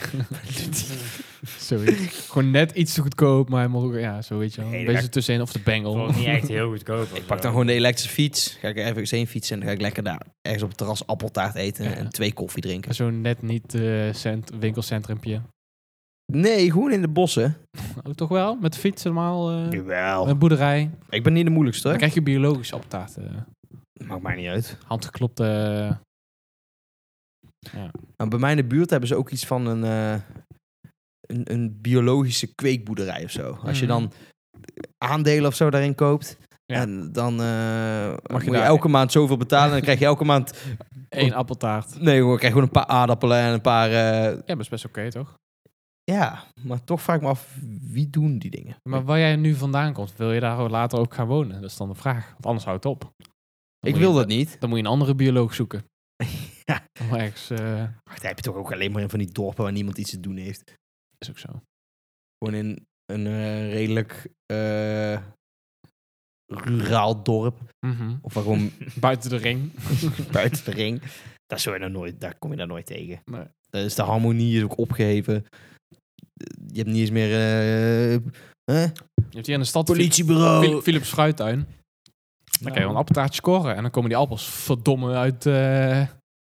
Zoiets. Gewoon net iets te goedkoop, maar hij mag ook- ja, zo weet je wel. Nee, Een dat- beetje tussenin of de bengel. Vond ik niet echt heel goedkoop. ik pak dan gewoon de elektrische fiets. Ga ik er even heen fietsen en dan ga ik lekker daar ergens op het terras appeltaart eten Ja. en twee koffie drinken. Zo'n net niet eh, cent, winkelcentrumpje. Nee, gewoon in de bossen. Ook Oh, toch wel? Met de fiets helemaal. eh, Jawel. een boerderij. Ik ben niet de moeilijkste. Dan hoor. krijg je biologische appeltaart. eh, Maakt mij niet uit. handgeklopte... eh, Nou, bij mij in de buurt hebben ze ook iets van een, eh, een, een biologische kweekboerderij of zo. Als je Mhm. dan aandelen of zo daarin koopt, Ja. En dan eh, moet je daar- elke maand zoveel betalen. En dan krijg je elke maand... Eén appeltaart. Nee, hoor, krijg je gewoon een paar aardappelen en een paar... eh, Ja, dat is best oké, toch? ja, maar toch vraag ik me af, wie doen die dingen? Maar waar jij nu vandaan komt, wil je daar later ook gaan wonen? Dat is dan de vraag. Want anders houdt het op. Dan ik moet wil je, dat niet. Dan moet je een andere bioloog zoeken. Ja. Dan moet ergens, eh, Wacht, daar heb je toch ook alleen maar in van die dorpen waar niemand iets te doen heeft. is ook zo. Gewoon in een eh, redelijk eh, ruraal dorp. Mhm. Of waar gewoon Buiten de ring. buiten de ring. Daar, zul je nou nooit, daar kom je daar nooit tegen. Nee. Daar is de harmonie is ook opgeheven. Je hebt niet eens meer... eh, eh, Je hebt hier in de stad Phil- politiebureau. Phil- Philips Fruittuin. Dan kan je wel een appeltaartje scoren. En dan komen die appels verdomme uit, eh,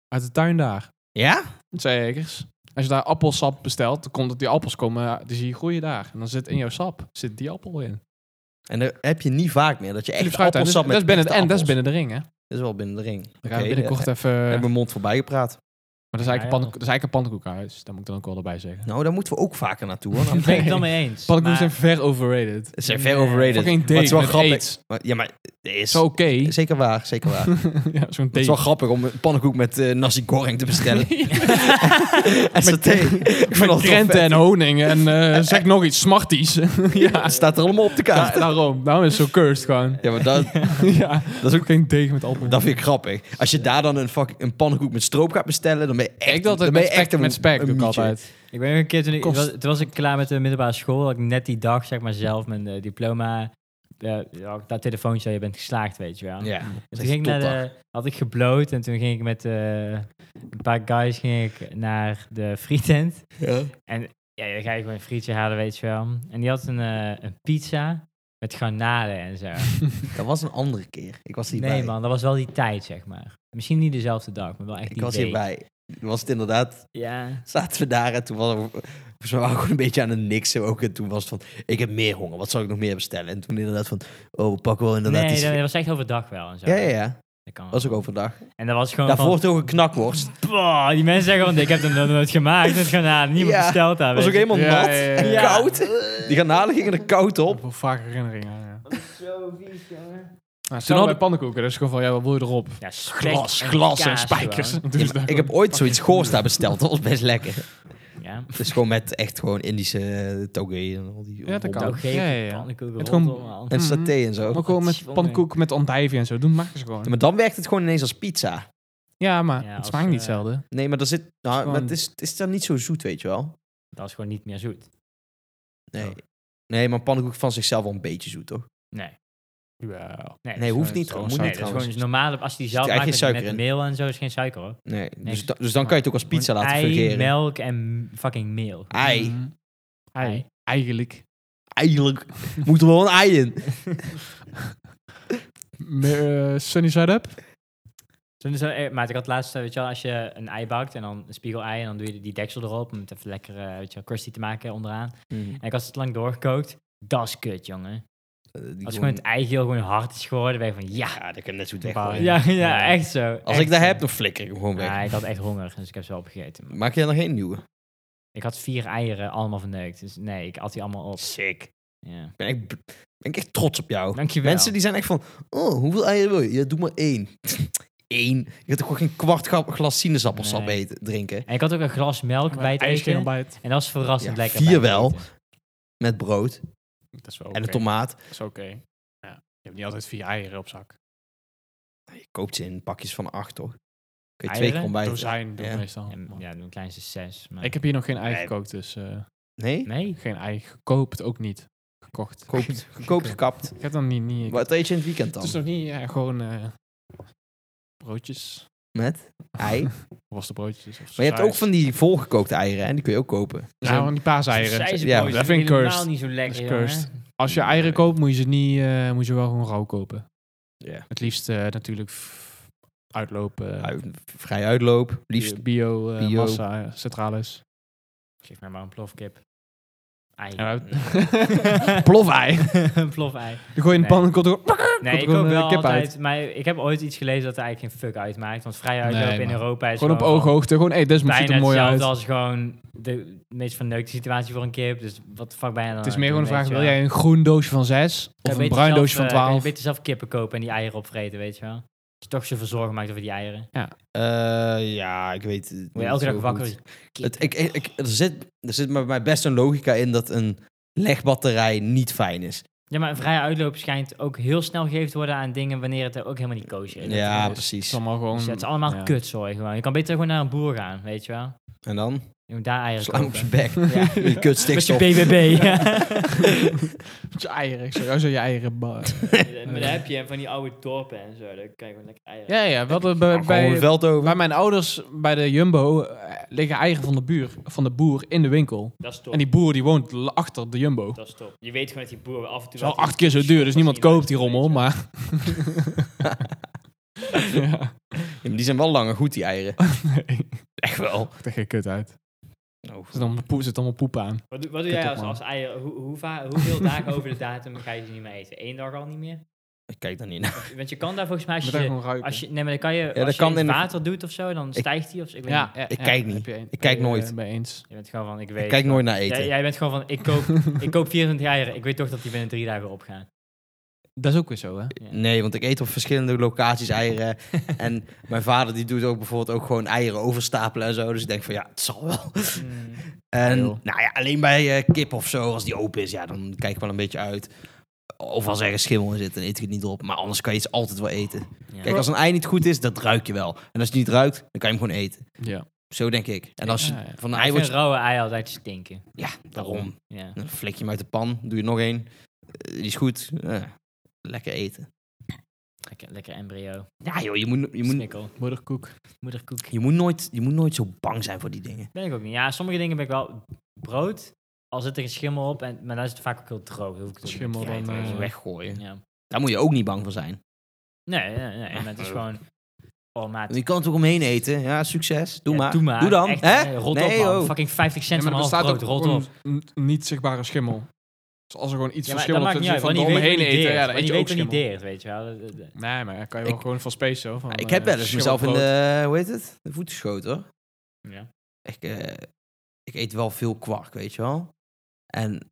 uit de tuin daar. Ja? Zekers. Als je daar appelsap bestelt, dan komt dat die appels komen, eh, die zie je groeien daar. En dan zit in jouw sap, zit die appel in. En daar heb je niet vaak meer. Dat je echt Philips Fruittuin, appelsap dat, met dat is binnen, echte en dat is appels. binnen de ring, hè? We Dat is wel binnen de ring. Oké, gaan binnenkort ja, eh, even... ik heb Maar mijn mond voorbij gepraat. dat is eigenlijk, Ja, een ja. pannenkoek, dat is eigenlijk een pannenkoekenhuis. Daar moet ik dan ook wel erbij zeggen. Nou, daar moeten we ook vaker naartoe. Hoor. Nou, Dat ben ik dan mee eens. Pannenkoeken maar- zijn ver overrated. Ze zijn veel Nee. overrated. Fucking Maar het is date wel met grappig. AIDS. Maar- ja, maar het is Zo oké. zeker waar, zeker waar. ja, zo'n Het is wel date. grappig om een pannenkoek met eh nasi goreng te bestellen. en saté. Ik vond Met dat krenten krenten en honing en eh, zeg nog iets, smarties. ja, Nou, staat er allemaal op de da- kaart. daarom. Daarom is het zo cursed gewoon. Ja, maar dat, ja, dat is ook geen deeg met appel. dat vind ik grappig. Als je daar dan een, fuck, een pannenkoek met stroop gaat bestellen, dan ben je echt, ik dat dan het ben met je echt spek, een, met spek een doe ik mietje. altijd. Nou, Ik ben een keer toen ik, Kost- was, toen was ik klaar met de middelbare school, dat ik net die dag zeg maar zelf mijn eh, diploma, eh, ja, dat telefoontje, je bent geslaagd, weet je wel. Ja. En toen ging ik naar de, had ik gebloot en toen ging ik met eh, een paar guys ging ik naar de frietent. Ja, dan ga je gewoon een frietje halen, weet je wel. En die had een, eh, een pizza met garnalen en zo. Dat was een andere keer. Ik was hierbij. nee man, dat was wel die tijd, zeg maar. Misschien niet dezelfde dag, maar wel echt Ik die was week. hierbij. Was het inderdaad, Ja. zaten we daar en toen waren we, we waren gewoon een beetje aan het niksen ook. En toen was het van, ik heb meer honger, wat zal ik nog meer bestellen? En toen inderdaad van, oh, we pakken wel inderdaad Nee, iets. dat, dat was echt overdag wel en zo. Ja, ja, ja. Dat kan was ook overdag. Oh, En dat was gewoon van- Daarvoor toch een knakworst. Bah, die mensen zeggen van, ik heb hem nog nooit gemaakt. Het garnaal, "Ah, niemand Ja, bestelt daar. Dat was ook weet je. helemaal Ja, nat ja, ja, en ja. koud. Die garnalen gingen er koud op. Op vaak herinneringen. Ja. Zo vies, jongen. Toen hadden- hadden pannenkoeken, dus gewoon van, ja, wat wil je erop? Ja, slecht. Glas, glas en Kaas spijkers. gewoon. Dus Ja, maar daar ik heb gewoon- ooit zoiets goors daar besteld. Dat was best lekker. Ja. Dus gewoon met echt gewoon Indische eh, togee en al die... Ja, dat kan. rommel. Ook geen Ja, ja, ja. pannenkoeken Het rondom, gewoon- man. En saté en zo. Ook gewoon met Godverdomme. pannenkoeken met andijvie en zo. Doen maken ze gewoon. Maar dan werkt het gewoon ineens als pizza. Ja, maar Ja, het als, smaakt niet eh, hetzelfde. Nee, maar, daar zit, nou, maar Gewoon- het, is, het is dan niet zo zoet, weet je wel. Dat is gewoon niet meer zoet. Nee, nee maar pannenkoek van zichzelf wel een beetje zoet, toch? Nee. Ja. Nee, Nee, hoeft niet. dat gewoon- het is Moet is- gewoon niet nee, dat is gewoon trouwens. dus normaal. Als je die zelf Er zit maakt eigenlijk met, geen met suiker meel en zo, is geen suiker hoor. Nee, dus, niks. da- dus dan kan je het ook als pizza Gewoon laten ei, fungeren. melk en fucking meel. Ei. Mhm. Ei. Eigenlijk. Eigenlijk moet er wel een ei in. Me- eh, Sunny Side Up? Toen is er- eh, maar ik had laatst, eh, weet je wel, als je een ei bakt en dan een spiegelei en dan doe je die deksel erop om het even lekker, eh, weet je wel, crusty te maken onderaan. En ik had het lang doorgekookt. Dat is kut, jongen. Als gewoon het eigeel gewoon hard is geworden, ben je van ja. Ja, Ah, dat kan net zo weg weg. gooien. Ja, ja, Ja. echt zo. Als ik dat heb, dan flikker ik hem gewoon weg. Ja, ik had echt honger, dus ik heb ze wel opgegeten. Maar Maak je dan geen nieuwe? Ik had vier eieren allemaal verneukt, dus nee, ik at die allemaal op. Sick. Ja. Ik ben echt, ben ik echt trots op jou. Dankjewel. Mensen die zijn echt van, oh, hoeveel eieren wil je? Ja, doe maar één. Eén. Je gaat toch gewoon geen kwart gra- glas sinaasappelsap Nee. eten, drinken? En ik had ook een glas melk bij het Ei is geen eten. ontbijt. En dat is verrassend Ja, lekker. vier bij het wel. eten. Met brood Dat is wel en oké. een tomaat. Dat is oké. Ja. Je hebt niet altijd vier eieren op zak. Je koopt ze in pakjes van acht, toch? Kun je twee Eieren? keer ontbijten. Dozijn doen Ja. meestal. En, ja, mijn kleinste is zes. Maar... Ik heb hier nog geen ei Nee. gekookt, dus eh, Nee? Nee? geen ei gekoopt ook niet. Gekocht. Koopt, gekoopt, gekapt. Ik heb dan niet... niet Wat eet je in het weekend het dan? is nog niet eh, gewoon eh, broodjes. Met ei. Gewassen broodjes. Of Maar je hebt ook van die volgekookte eieren, en die kun je ook kopen. Dus Ja, van Nou, die paaseieren. Ja, Ja, dat dat vind vind ik helemaal cursed. niet zo lekker, Dat is cursed. jongen. Als je eieren koopt, moet je ze, niet, eh, moet je wel gewoon rauw kopen. Ja. Het liefst eh, natuurlijk f- uitlopen. eh, Ui- Vrij uitloop, liefst. bio, eh, Bio. massa, eh, centrales. Geef mij maar een plofkip. Ei. Ja, we Plofei. Een plofei. Dan gooi je in de Nee. pan en komt er... Nee, ik er ook een, wel eh, kip altijd... Maar ik heb ooit iets gelezen dat er eigenlijk geen fuck uitmaakt. Want vrij uitlopen Nee, in man. Europa is Gewoon op van- ooghoogte. Gewoon, hé, hey, Desmond ziet bijna er mooi uit. hetzelfde als gewoon de meest verneukte situatie voor een kip. Dus wat de fuck ben je dan Het is aan meer gewoon doen, een vraag, weet je wil wel. jij een groen doosje van 6 Kan of je een beter bruin zelf, doosje van eh, kan je 12? beter zelf kippen kopen en die eieren opvreten, weet je wel. Dat je toch zoveel zorgen maakt over die eieren. Eh, ja, ik weet het Word niet je elke zo dag goed. wakker. Het, ik, ik, ik- er, zit, er zit bij mij best een logica in dat een legbatterij niet fijn is. Ja, maar een vrije uitloop schijnt ook heel snel gegeven te worden aan dingen wanneer het ook helemaal niet koos is. ja, is- Het is precies. allemaal gewoon... Dus ja, het is allemaal ja. kutzooi gewoon. Je kan beter gewoon naar een boer gaan, weet je wel. En dan? Je moet daar eieren Slaan op kopen. zijn bek. Ja. Je kut Met je stikstof. BBB. ja. Het is eieren. Ik zou jou zo je eieren... ba- Maar daar heb je hem van die oude dorpen en zo. Daar kan je gewoon lekker eieren. ja, ja. We hadden bij, Gewoon het bij, veld over. bij mijn ouders, bij de Jumbo, eh, liggen eieren van de, buur, van de boer in de winkel. Dat is top. En die boer die woont l- achter de Jumbo. Het Dat is top. Je weet gewoon dat die boeren af en toe... is wel acht keer zo duur, dus niemand koopt die rommel, maar... ja, Ja, maar die zijn wel langer goed, die eieren. nee. Echt wel. Echt geen kut uit. Er Oh. zit allemaal poep, zit allemaal poep aan. Wat, doe- wat doe jij Kut op, als, man. als eieren? Hoe, hoe va- hoeveel dagen over de datum ga je ze niet meer eten? Eén dag al niet meer? Ik kijk daar niet naar. Want je kan daar volgens mij als Moet je... daar ze- gewoon ruiken. Als je, nee, maar dan kan je, als dat je kan in het in de- water doet of zo, dan stijgt die of zo. Ik weet ja, niet. ja, Ik ja, kijk daar niet. heb je een- Ik kijk ben je nooit. Mee eens. Je bent gewoon van, ik weet... Ik kijk nooit naar eten. Jij, jij bent gewoon van, ik koop, ik koop 24 eieren. Ik weet toch dat die binnen drie dagen opgaan. Dat is ook weer zo, hè? Nee, want ik eet op verschillende locaties eieren. en mijn vader die doet ook bijvoorbeeld ook gewoon eieren overstapelen en zo. Dus ik denk van ja, het zal wel. Mm. En Ja, joh. nou ja, alleen bij eh, kip of zo, als die open is, ja, dan kijk ik wel een beetje uit. Of als er een schimmel in zit, dan eet ik het niet op. Maar anders kan je iets altijd wel eten. Ja. Kijk, als een ei niet goed is, dat ruik je wel. En als je niet ruikt, dan kan je hem gewoon eten. Ja. Zo denk ik. En als je Ja, ja. van een Ik ei vind wordt... rauwe ei altijd stinken. Ja, daarom. Ja. Dan flik je hem uit de pan, doe je nog één. Eh, die is goed. Eh, lekker eten. Lekker, lekker embryo. Ja joh, je moet, je moet, Snikkel. Moederkoek. Moederkoek. je moet, nooit, je moet nooit zo bang zijn voor die dingen. Ben ik ook niet. Ja, sommige dingen ben ik wel... Brood, al zit er een schimmel op, en, maar dan is het vaak ook heel droog. Dan hoef ik het ook niet Schimmel te dan, eten, weet je Gewoon wel. eh, Weggooien. Ja. Daar moet je ook niet bang voor zijn. Nee, nee, nee. maar het is Eh. gewoon... Oh, maat. Je kan het ook omheen eten. Ja, succes. Doe Ja, maar. Doe maar. Doe dan. Echt, hè? nee, rot Nee, oh. op, man. joh. Fucking 50 cent Ja, van maar een er half staat brood. ook Rot een op. n- niet zichtbare schimmel. Dus als er gewoon iets Ja, van maar schimmel dat op maakt zit, niet zit uit. van Want door die me weet heen niet eten, deert. ja, Ja, dan want eet die je ook weet niet schimmel. deert, weet je wel. Dat- dat- dat- Nee, maar dan kan je wel Ik- gewoon van space zo. Van, Ah, ik heb eh, wel eens mezelf in schimmelbrood. de, eh, hoe heet het? De voeten geschoten hoor. Ja. Ik, eh, ik eet wel veel kwark, weet je wel. En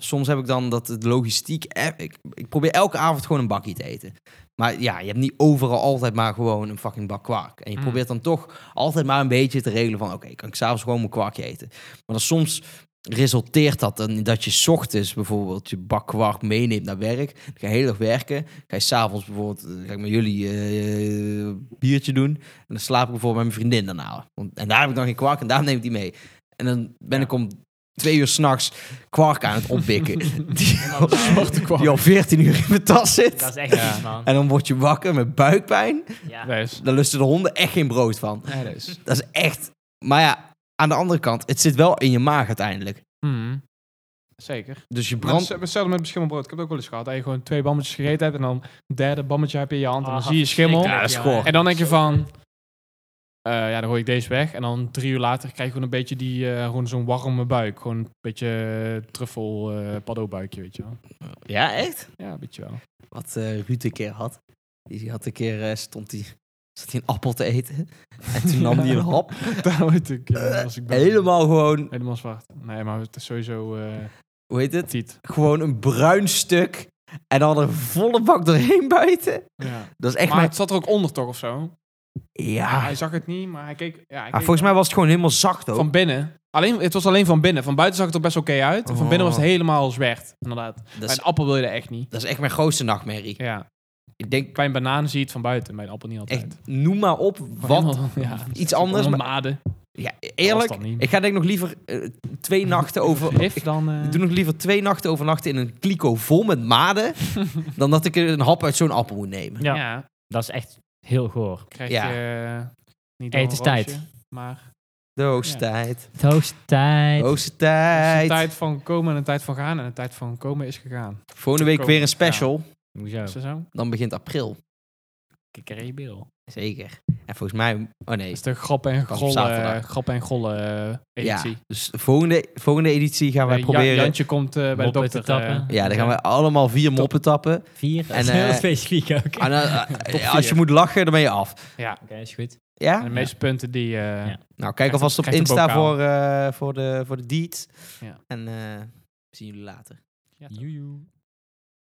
soms heb ik dan dat het logistiek, eh, ik, ik probeer elke avond gewoon een bakje te eten. Maar ja, je hebt niet overal altijd maar gewoon een fucking bak kwark. En je Mm. probeert dan toch altijd maar een beetje te regelen van, oké, kan ik s'avonds gewoon mijn kwarkje eten. Maar dan soms resulteert dat dan dat je 's ochtends bijvoorbeeld je bak kwark meeneemt naar werk. Dan ga je heel erg werken. Ga je s'avonds bijvoorbeeld, eh, ga ik met jullie eh, biertje doen. En dan slaap ik bijvoorbeeld met mijn vriendin daarna. Want, en daar heb ik dan geen kwark en daar neem ik die mee. En dan ben Ja. ik om twee uur s'nachts kwark aan het oppikken. die, al- Zwarte kwak. die al 14 uur in mijn tas Dat zit. is echt Ja. iets, man. En dan word je wakker met buikpijn. Ja. Nee, is- Daar lusten de honden echt geen brood van. nee, dat is- Dat is echt... Maar ja, aan de andere kant, het zit wel in je maag uiteindelijk. Mhm. Zeker. Dus je Maar brandt... het is Hetzelfde met schimmelbrood. Ik heb het ook wel eens gehad. Dat je gewoon twee bammetjes gegeten hebt en dan een derde bammetje heb je in je hand en dan Ah, zie je schimmel. verschrikkelijk, Ja, dat is goor. jongen. En dan denk je van, eh, ja, dan gooi ik deze weg. En dan drie uur later krijg je gewoon een beetje die, eh, gewoon zo'n warme buik. Gewoon een beetje eh, truffel eh paddobuikje, weet je wel. Ja, echt? Ja, een beetje wel. Wat eh Ruud een keer had. Die had een keer, eh, stond hij zat hij een appel te eten. En toen nam hij een hap. Daar weet ik, eh, als ik ben. Helemaal gewoon, Helemaal zwart. Nee, maar het is sowieso eh hoe heet het? tiet. Gewoon een bruin stuk. En dan een volle bak doorheen buiten. Ja. Dat is echt Maar mijn... het zat er ook onder toch of zo? Ja. Hij zag het niet, maar hij keek... Ja, hij Maar keek Ah, volgens mij was het gewoon helemaal zacht ook. Van binnen. Alleen, het was alleen van binnen. Van buiten zag het er best oké uit. En van binnen was het Oh. helemaal zwart, inderdaad. dat, Bij is, een appel wil je dat echt niet. dat is echt mijn grootste nachtmerrie. Ja. Ik denk Bij een banaan zie je het van buiten. Bij een appel niet altijd. echt, noem maar op wat. Ja. Iets anders. Maar, maden. ja, Dat eerlijk, was dan niet. ik ga denk ik nog liever eh, twee nachten over... Gif dan... eh, Ik doe nog liever twee nachten overnachten in een kliko vol met maden... dan dat ik een hap uit zo'n appel moet nemen. Ja. ja. Dat is echt heel goor. Krijg Ja. je... eh, niet door Eten is een roosje, tijd. Maar De hoogste tijd. Het hoogste tijd. Hoogste er is een tijd. tijd van komen en een tijd van gaan. En een tijd van komen is gegaan. Oh. Volgende week weer een special. Hoezo? Is dat zo? Dan begint april. Ik krijg je bil. Zeker. En volgens mij... Oh nee. is de grap en Pas op gollen, zaterdag. grap en gollen eh, editie. Ja, dus de volgende, volgende editie gaan wij Eh, Jan- proberen... Jantje komt eh, bij de Moppen te dokter. eh, tappen. ja, dan gaan wij allemaal vier moppen tappen. Vier. Dat En, is heel eh, specifiek ook. En, eh, eh, vier. als je moet lachen, dan ben je af. Oké, is goed. en Ja? de meeste punten die... eh, Ja. Nou, kijk Krijgt alvast een- op krijgt een Insta bokaal. voor, eh, voor, de, voor de deed. Ja. En eh, zien jullie later. ja, Joejoe.